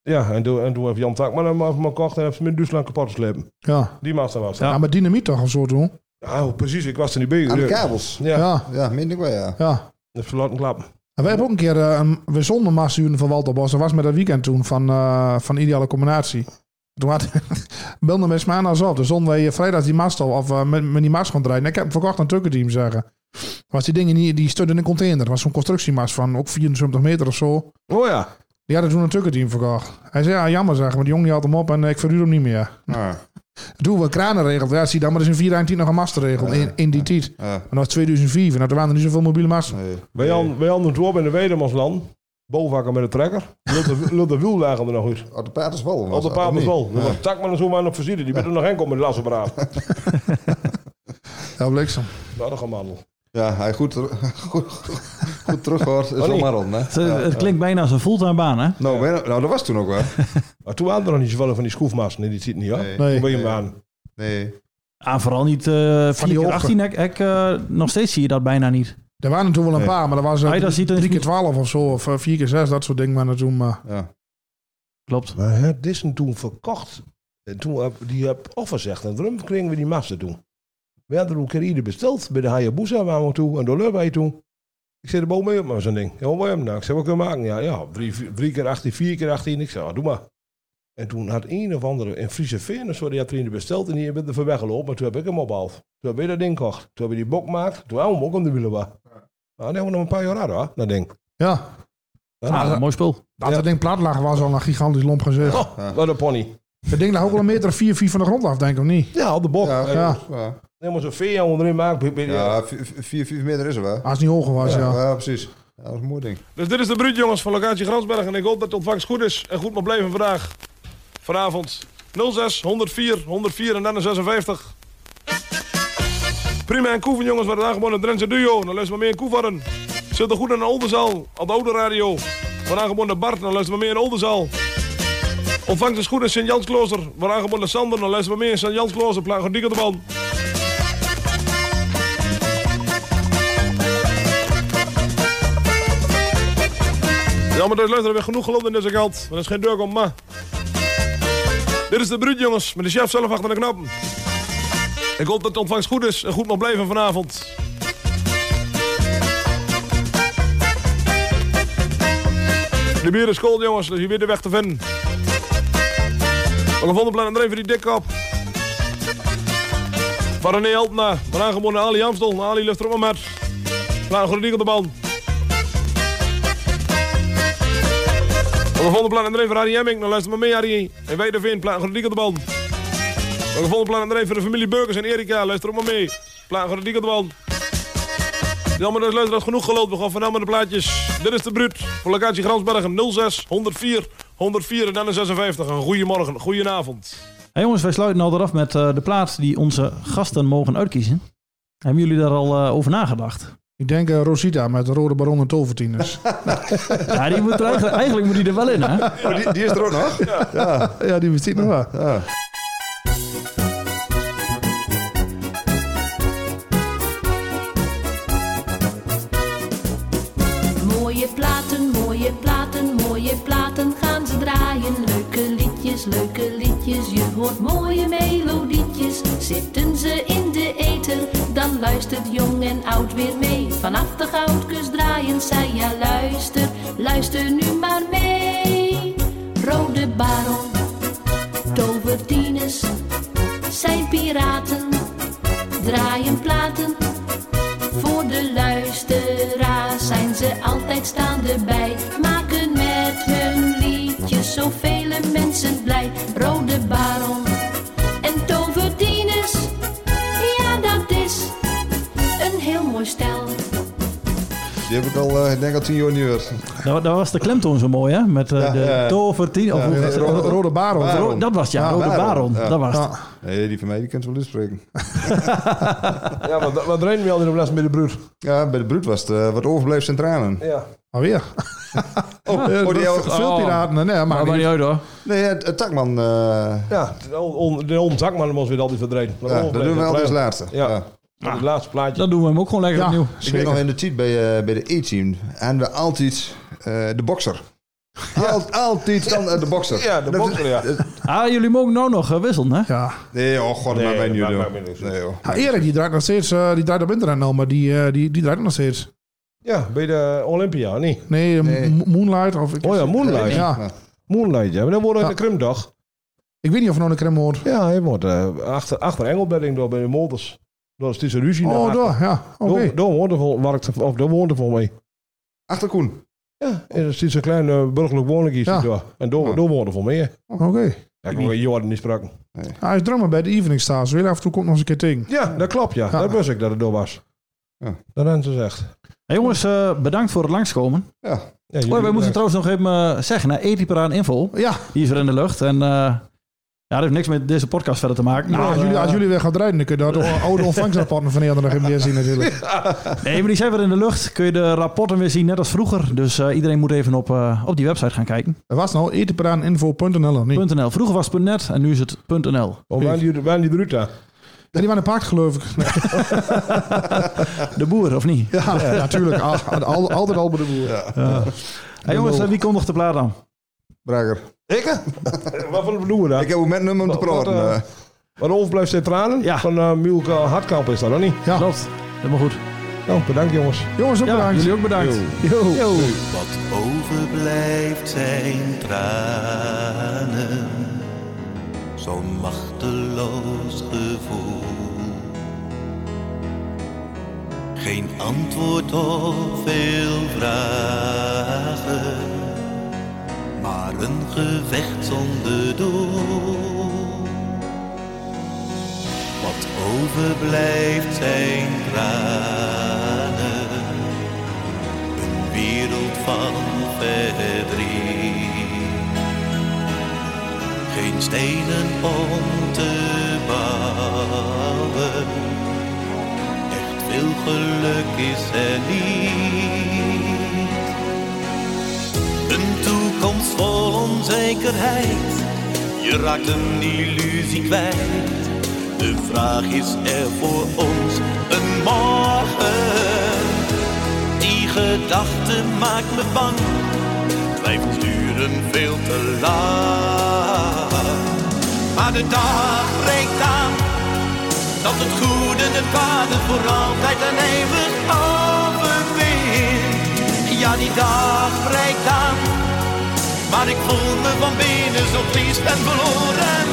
Speaker 4: Ja, en toen, en toen heeft Jan Takman hem af me gekocht en heeft ze hem in Duitsland kapot geslepen.
Speaker 3: Ja.
Speaker 4: Die master was
Speaker 3: ja.
Speaker 4: daar.
Speaker 3: maar dynamiet toch of zo toen.
Speaker 4: Ja. oh, precies. Ik was er niet bij.
Speaker 2: Aan de
Speaker 4: Ja.
Speaker 2: kabels.
Speaker 4: Ja, dus ja.
Speaker 3: Ja.
Speaker 2: Ja, meen ik wel, ja.
Speaker 3: ja.
Speaker 4: dat verlaten klap.
Speaker 3: En wij hebben ook een keer eh, een, we zonder massuren van Walter Bos. Dat was met dat weekend toen van, eh, van ideale combinatie. Toen had, nou belde mijn maandags op. Toen zonden wij eh, vrijdag die mast al of eh, met, met die mast gaan draaien. En ik heb hem verkocht aan Tukkenteam zeggen. Was die dingen die, die stonden in een container. Dat was zo'n constructiemast van ook 74 meter of zo.
Speaker 4: Oh ja.
Speaker 3: Die hadden toen een Tukkenteam verkocht. Hij zei ja jammer zeggen, maar die jongen die had hem op en eh, ik verhuur hem niet meer.
Speaker 2: Ja,
Speaker 3: Toen we kranen regeld. Ja zie dan maar eens in 419 nog een mast regeld in, in die tijd.
Speaker 2: ja.
Speaker 3: En dat was 2004. Nou toen waren er niet zoveel mobiele masten.
Speaker 2: Nee.
Speaker 4: Wij hadden wij hadden door bij de Wedemansland. Bovakker met een trekker. Lult de- Lult de wiel lagen er nog uit.
Speaker 2: Op de Paterswal. was
Speaker 4: Op de
Speaker 2: dat,
Speaker 4: paard dus
Speaker 2: of niet?
Speaker 4: wel. Dat was Takman en zo maar nog voorzien. Die ben er nog heen komen met lassen braaf.
Speaker 3: Ja bliksem.
Speaker 4: Dat is een mandel.
Speaker 2: Ja, hij goed, ter- goed, goed teruggehoord. Is
Speaker 4: Oh,
Speaker 2: wel
Speaker 4: nee.
Speaker 2: marrel, hè?
Speaker 1: Het, het klinkt bijna als een fulltime baan, hè?
Speaker 2: Nou, bijna- nou, dat was toen ook wel.
Speaker 4: Maar toen waren er nog niet zoveel van die schroefmassen in die zit niet, hoor.
Speaker 2: Nee.
Speaker 4: Toen ben je
Speaker 2: Nee.
Speaker 4: hem aan.
Speaker 2: Nee.
Speaker 1: Ah, vooral niet eh
Speaker 3: Van
Speaker 1: 4
Speaker 3: die hoge.
Speaker 1: 18 hek, hek eh, Nog steeds zie je dat bijna niet.
Speaker 3: Er waren er toen wel een
Speaker 2: Nee.
Speaker 3: paar, maar dat was eh,
Speaker 1: Nee, dat
Speaker 3: drie,
Speaker 1: ziet er
Speaker 3: drie keer
Speaker 1: niet-
Speaker 3: 12 of zo, of eh, vier keer zes, dat soort dingen waren er toen. eh, Maar
Speaker 2: Ja.
Speaker 1: Klopt.
Speaker 4: Maar hè, dit is hem toen verkocht. En toen heb, die heb afgezegd. En daarom kregen we die master toen. We hadden er een keer ieder besteld. Bij de Hayabusa waren we toe. En door Lur wij toe. Ik zei, de boom mee op maar zo'n ding. Ja, hoe wil je hem nou? Ik zei, wat kunnen we maken? Ja, ja drie, vier- drie keer 18, vier keer 18. Ik zei, ah, doe maar. En toen had een of andere in Friese Veen, of zo, die had er een besteld. En die hebben er voor weggelopen. Maar toen heb ik hem opgehaald. Toen hebben we dat ding gekocht. Toen hebben we die bok gemaakt. Toen hebben we hem ook om de wielen. Maar dan hebben we nog een paar jaar hadden, hoor, dat ding.
Speaker 3: ja,
Speaker 4: Ja,
Speaker 1: Ah,
Speaker 4: dat-
Speaker 1: mooi spul.
Speaker 3: dat het ding plat lag was al een gigantisch lomp gezicht.
Speaker 4: Oh, wat een pony.
Speaker 3: Het ding lag ook wel een meter of vier, vier van de grond af, denk ik, of niet?
Speaker 4: Ja, op de bok.
Speaker 2: Ja,
Speaker 4: Eh,
Speaker 3: Ja.
Speaker 2: ja.
Speaker 4: Helemaal zo'n veer onderin maken. bij- bij-
Speaker 2: Ja, 4 meter is er wel.
Speaker 3: Als het niet hoger was, Ah, ja.
Speaker 2: Ja, precies. Ja, dat is een mooi ding.
Speaker 4: Dus dit is de Bruut, jongens, van locatie Gransberg. En ik hoop dat de ontvangst goed is en goed mag blijven vandaag. Vanavond 06, 104, 104 en dan een 56. Prima en Koeven, jongens, werd het aangeboden Drentse Duo. Dan luisteren we meer in Koevarden. Zit er goed in de Oldenzaal, op de Oude Radio. Wordt aangeboden naar Bart, dan luisteren we meer in Oldenzaal. Ontvangst is goed in Sint-Jansklooster. Wordt aangeboden naar Sander, dan luisteren we meer in Sint-Jansklooster. Plagen dikke de man. Ja, maar dat luisteren weer genoeg geland in deze kant. Maar dat is geen deur om ma. Dit is de bruut, jongens, met de chef zelf achter de knappen. Ik hoop dat de ontvangst goed is en goed mag blijven vanavond. De bier is cold, jongens, dus je weet de weg te vinden. We gevonden plan André voor die dikke op. Van René Altena, van aangeboden Ali Amstel. Ali ligt er op maar met. Klaar, een goede ding op de bal. de volgende plaat aan de rij voor Arie Hemming. Dan luister maar mee, Arie. En Weiderveen, plaat een op de band. Dan de volgende plaat aan de rij voor de familie Burgers en Erika. Luister ook maar mee. Plaat een op de band. Jammer, dat is luisteraars genoeg gelopen. We gaan vanaf met de plaatjes. Dit is de Bruut voor locatie Gransbergen 06 104 104 en dan een 56. Een goede morgen, goedenavond.
Speaker 1: Hey jongens, wij sluiten al eraf met eh, de plaats die onze gasten mogen uitkiezen. Hebben jullie daar al eh, over nagedacht?
Speaker 3: Ik denk eh, Rosita met de Rode Baron en Tovertieners.
Speaker 1: Ja, die moet er eigenlijk, eigenlijk moet die er wel in, hè?
Speaker 2: Oh, die, die is er ook nog?
Speaker 3: ja, ja, die bestaat nog wel.
Speaker 2: Ja.
Speaker 11: Mooie platen, mooie platen, mooie platen gaan ze draaien. Leuke liedjes, leuke liedjes, je hoort mooie melodietjes. Zitten ze in de eter, dan luistert jong en oud weer mee. Vanaf de goudkust draaien zij, ja luister, luister nu maar mee. Rode baron, tovertieners, zijn piraten, draaien platen. Voor de luisteraars zijn ze altijd staande bij. Maken met hun liedjes zoveel mensen blij. Rode baron en toverdieners, ja dat is een heel mooi stel.
Speaker 2: Die heb ik al, eh, ik denk al tien jaar niet meer.
Speaker 1: Daar, daar was de klemtoon zo mooi, hè? Met eh,
Speaker 2: Ja,
Speaker 1: de
Speaker 2: ja, ja.
Speaker 1: tovertien... Of
Speaker 2: Ja,
Speaker 1: hoe-
Speaker 2: ja,
Speaker 1: eh,
Speaker 2: Rode- Rode Baron.
Speaker 1: Ro- dat was het, ja,
Speaker 2: Ja,
Speaker 1: Rode
Speaker 2: Baron,
Speaker 1: Baron.
Speaker 2: ja.
Speaker 1: Dat was het.
Speaker 2: Ja. Nee, die van mij die kan ze wel inspreken.
Speaker 4: Ja, wat, wat rijden we al in de les met de Bruut?
Speaker 2: Ja, bij de Bruut was het eh, wat overbleef centralen.
Speaker 4: Ja.
Speaker 3: Alweer.
Speaker 1: Ah.
Speaker 2: Oh,
Speaker 3: Eh, Veel piraten. Nee, maar,
Speaker 1: Maar niet uit, hoor.
Speaker 2: Nee, het, het takman. eh,
Speaker 4: Ja, de on- on- de onzakman was weer altijd verdreven.
Speaker 2: Ja, dat doen we altijd als laatste.
Speaker 4: Ja,
Speaker 2: Ja.
Speaker 4: dat is het laatste plaatje.
Speaker 1: Dan doen we hem ook gewoon lekker
Speaker 3: Ja.
Speaker 1: opnieuw.
Speaker 2: Ik weet nog in de tijd bij, eh, bij de E-team. En we altijd eh, de bokser. Al- altijd dan eh, de bokser.
Speaker 4: Ja, de
Speaker 2: Dat-
Speaker 4: bokker, ja.
Speaker 1: Ah, jullie mogen nou nog eh, wisselen, hè?
Speaker 3: Ja.
Speaker 2: Nee, oh god,
Speaker 4: Nee,
Speaker 2: maar mij
Speaker 4: dat
Speaker 2: niet
Speaker 4: maakt
Speaker 2: doen.
Speaker 4: mij niks uit.
Speaker 2: Nee, joh.
Speaker 3: Ja, Nou, Erik, die draait nog steeds, eh, die draait op internet nou, maar die, eh, die, die draait nog steeds.
Speaker 4: Ja, bij de Olympia, nee.
Speaker 3: Nee, eh,
Speaker 2: Nee.
Speaker 3: Mo- Moonlight of... Ik,
Speaker 4: Oh ja, Moonlight.
Speaker 3: Ja.
Speaker 4: Moonlight, ja. Maar dan wordt het
Speaker 3: Ja.
Speaker 4: de Krimdag.
Speaker 3: Ik weet niet of er nog een crème hoort.
Speaker 4: Ja, hij wordt eh, achter, achter Engelbedding door bij de Molders. Dat is tussen ruzie.
Speaker 3: Oh, daar, ja. Oké.
Speaker 4: Daar woont er vol, werkt- of daar woont er vol mee.
Speaker 2: Achter Koen.
Speaker 4: Ja, en dat is een klein eh, burgerlijk woning is
Speaker 3: Ja.
Speaker 4: ja. daar. En daar
Speaker 2: Ja.
Speaker 4: daar woont er vol mee. hè.
Speaker 3: Oké.
Speaker 4: Ja, ik hoor Jordan niet spraken.
Speaker 3: Hij is drummer bij de Evening Stars. Heel af en toe komt nog eens een keer tegen.
Speaker 4: Ja, dat klopt, ja.
Speaker 3: Ja.
Speaker 4: Dat wist ik dat het door was.
Speaker 2: Ja.
Speaker 4: Dat hebben ze gezegd.
Speaker 1: Hey, jongens, eh, bedankt voor het langskomen.
Speaker 4: Ja, jullie
Speaker 1: Oh, wij moeten
Speaker 4: bedankt.
Speaker 1: trouwens nog even eh, zeggen, hè? Etiparaan Info.
Speaker 3: Ja,
Speaker 1: Die is er in de lucht. En eh, ja, dat heeft niks met deze podcast verder te maken.
Speaker 3: nou,
Speaker 1: Maar,
Speaker 3: als,
Speaker 1: eh,
Speaker 3: jullie, als jullie weer gaan rijden, dan kun je daar de oude ontvangstrapporten van de andere dag weer zien natuurlijk.
Speaker 1: Nee, maar die zijn weer in de lucht. Kun je de rapporten weer zien, net als vroeger. Dus eh, iedereen moet even op, eh, op die website gaan kijken.
Speaker 3: Dat was nou etenparaaninfo.nl of niet?
Speaker 1: .nl. Vroeger was het .net en nu is het .nl.
Speaker 4: Oh, waren die, waren die Bruta?
Speaker 3: Ja, die waren een paard geloof ik. Nee,
Speaker 1: De boer, of niet?
Speaker 3: Ja, natuurlijk. al- al- Altijd al bij de boer.
Speaker 1: Hey, jongens, eh, wie kondigt de plaat aan?
Speaker 2: Brager.
Speaker 4: Wat voor bedoelen we dat?
Speaker 2: Ik heb ook met hem om te
Speaker 4: Wat, wat,
Speaker 2: praten.
Speaker 4: eh,
Speaker 2: eh.
Speaker 4: Maar overblijft zijn tranen?
Speaker 1: Ja.
Speaker 4: Van eh Mielke Hartkamp is dat, of niet?
Speaker 3: Ja.
Speaker 1: Klopt. Helemaal goed.
Speaker 4: Nou, bedankt jongens.
Speaker 3: Jongens, ook
Speaker 1: Ja,
Speaker 3: bedankt.
Speaker 1: jullie ook bedankt. Yo.
Speaker 12: Wat overblijft zijn tranen, zo'n machteloos gevoel. Geen antwoord op veel vragen, maar een gevecht zonder doel. Wat overblijft zijn tranen een wereld van verdriet. Geen stenen om te bouwen, echt veel geluk is er niet. Een toekomst vol onzekerheid, je raakt een illusie kwijt. De vraag is er voor ons een morgen. Die gedachte maakt me bang, blijft duren veel te lang. Maar de dag breekt aan, dat het goede het kwade voor altijd en eeuwig overwint. Ja, die dag breekt aan, maar ik voel me van binnen zo triest en verloren.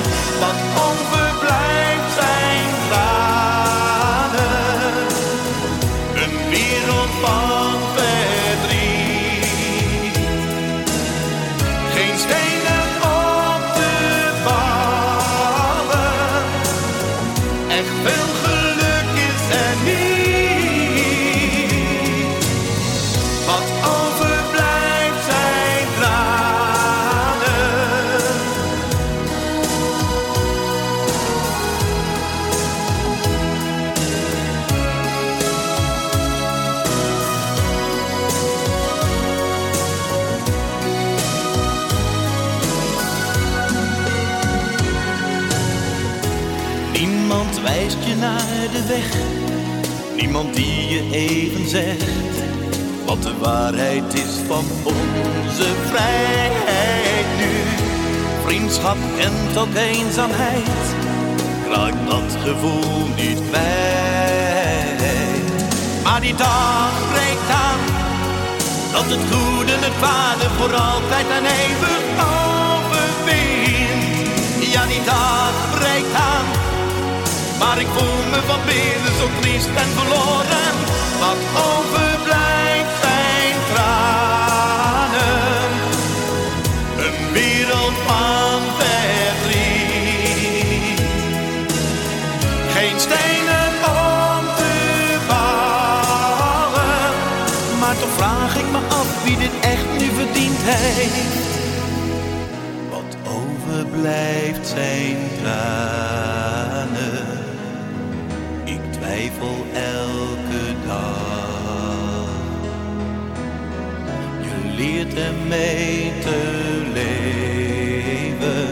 Speaker 12: Wat overblijft zijn tranen een wereld van verdriet. Geen Niemand wijst je naar de weg, niemand die je even zegt wat de waarheid is van onze vrijheid nu. Vriendschap en tot eenzaamheid, raakt dat gevoel niet kwijt. Maar die dag breekt aan, dat het goede het kwade voor altijd en even overwint. Ja, die dag breekt aan, maar ik voel me van binnen zo triest en verloren. Wat overblijft zijn tranen, een wereld van verdriet. Geen stenen om te bouwen, maar toch vraag ik me af wie dit echt nu verdient heeft. Wat overblijft zijn tranen, ik twijfel elke dag. Je leert ermee te leven,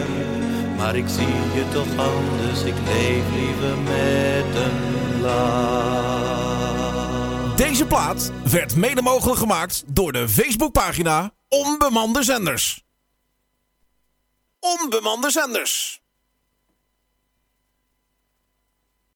Speaker 12: maar ik zie je toch anders, ik leef liever met een lach.
Speaker 6: Deze plaat werd mede mogelijk gemaakt door de Facebookpagina Onbemande Zenders. Onbemande Zenders.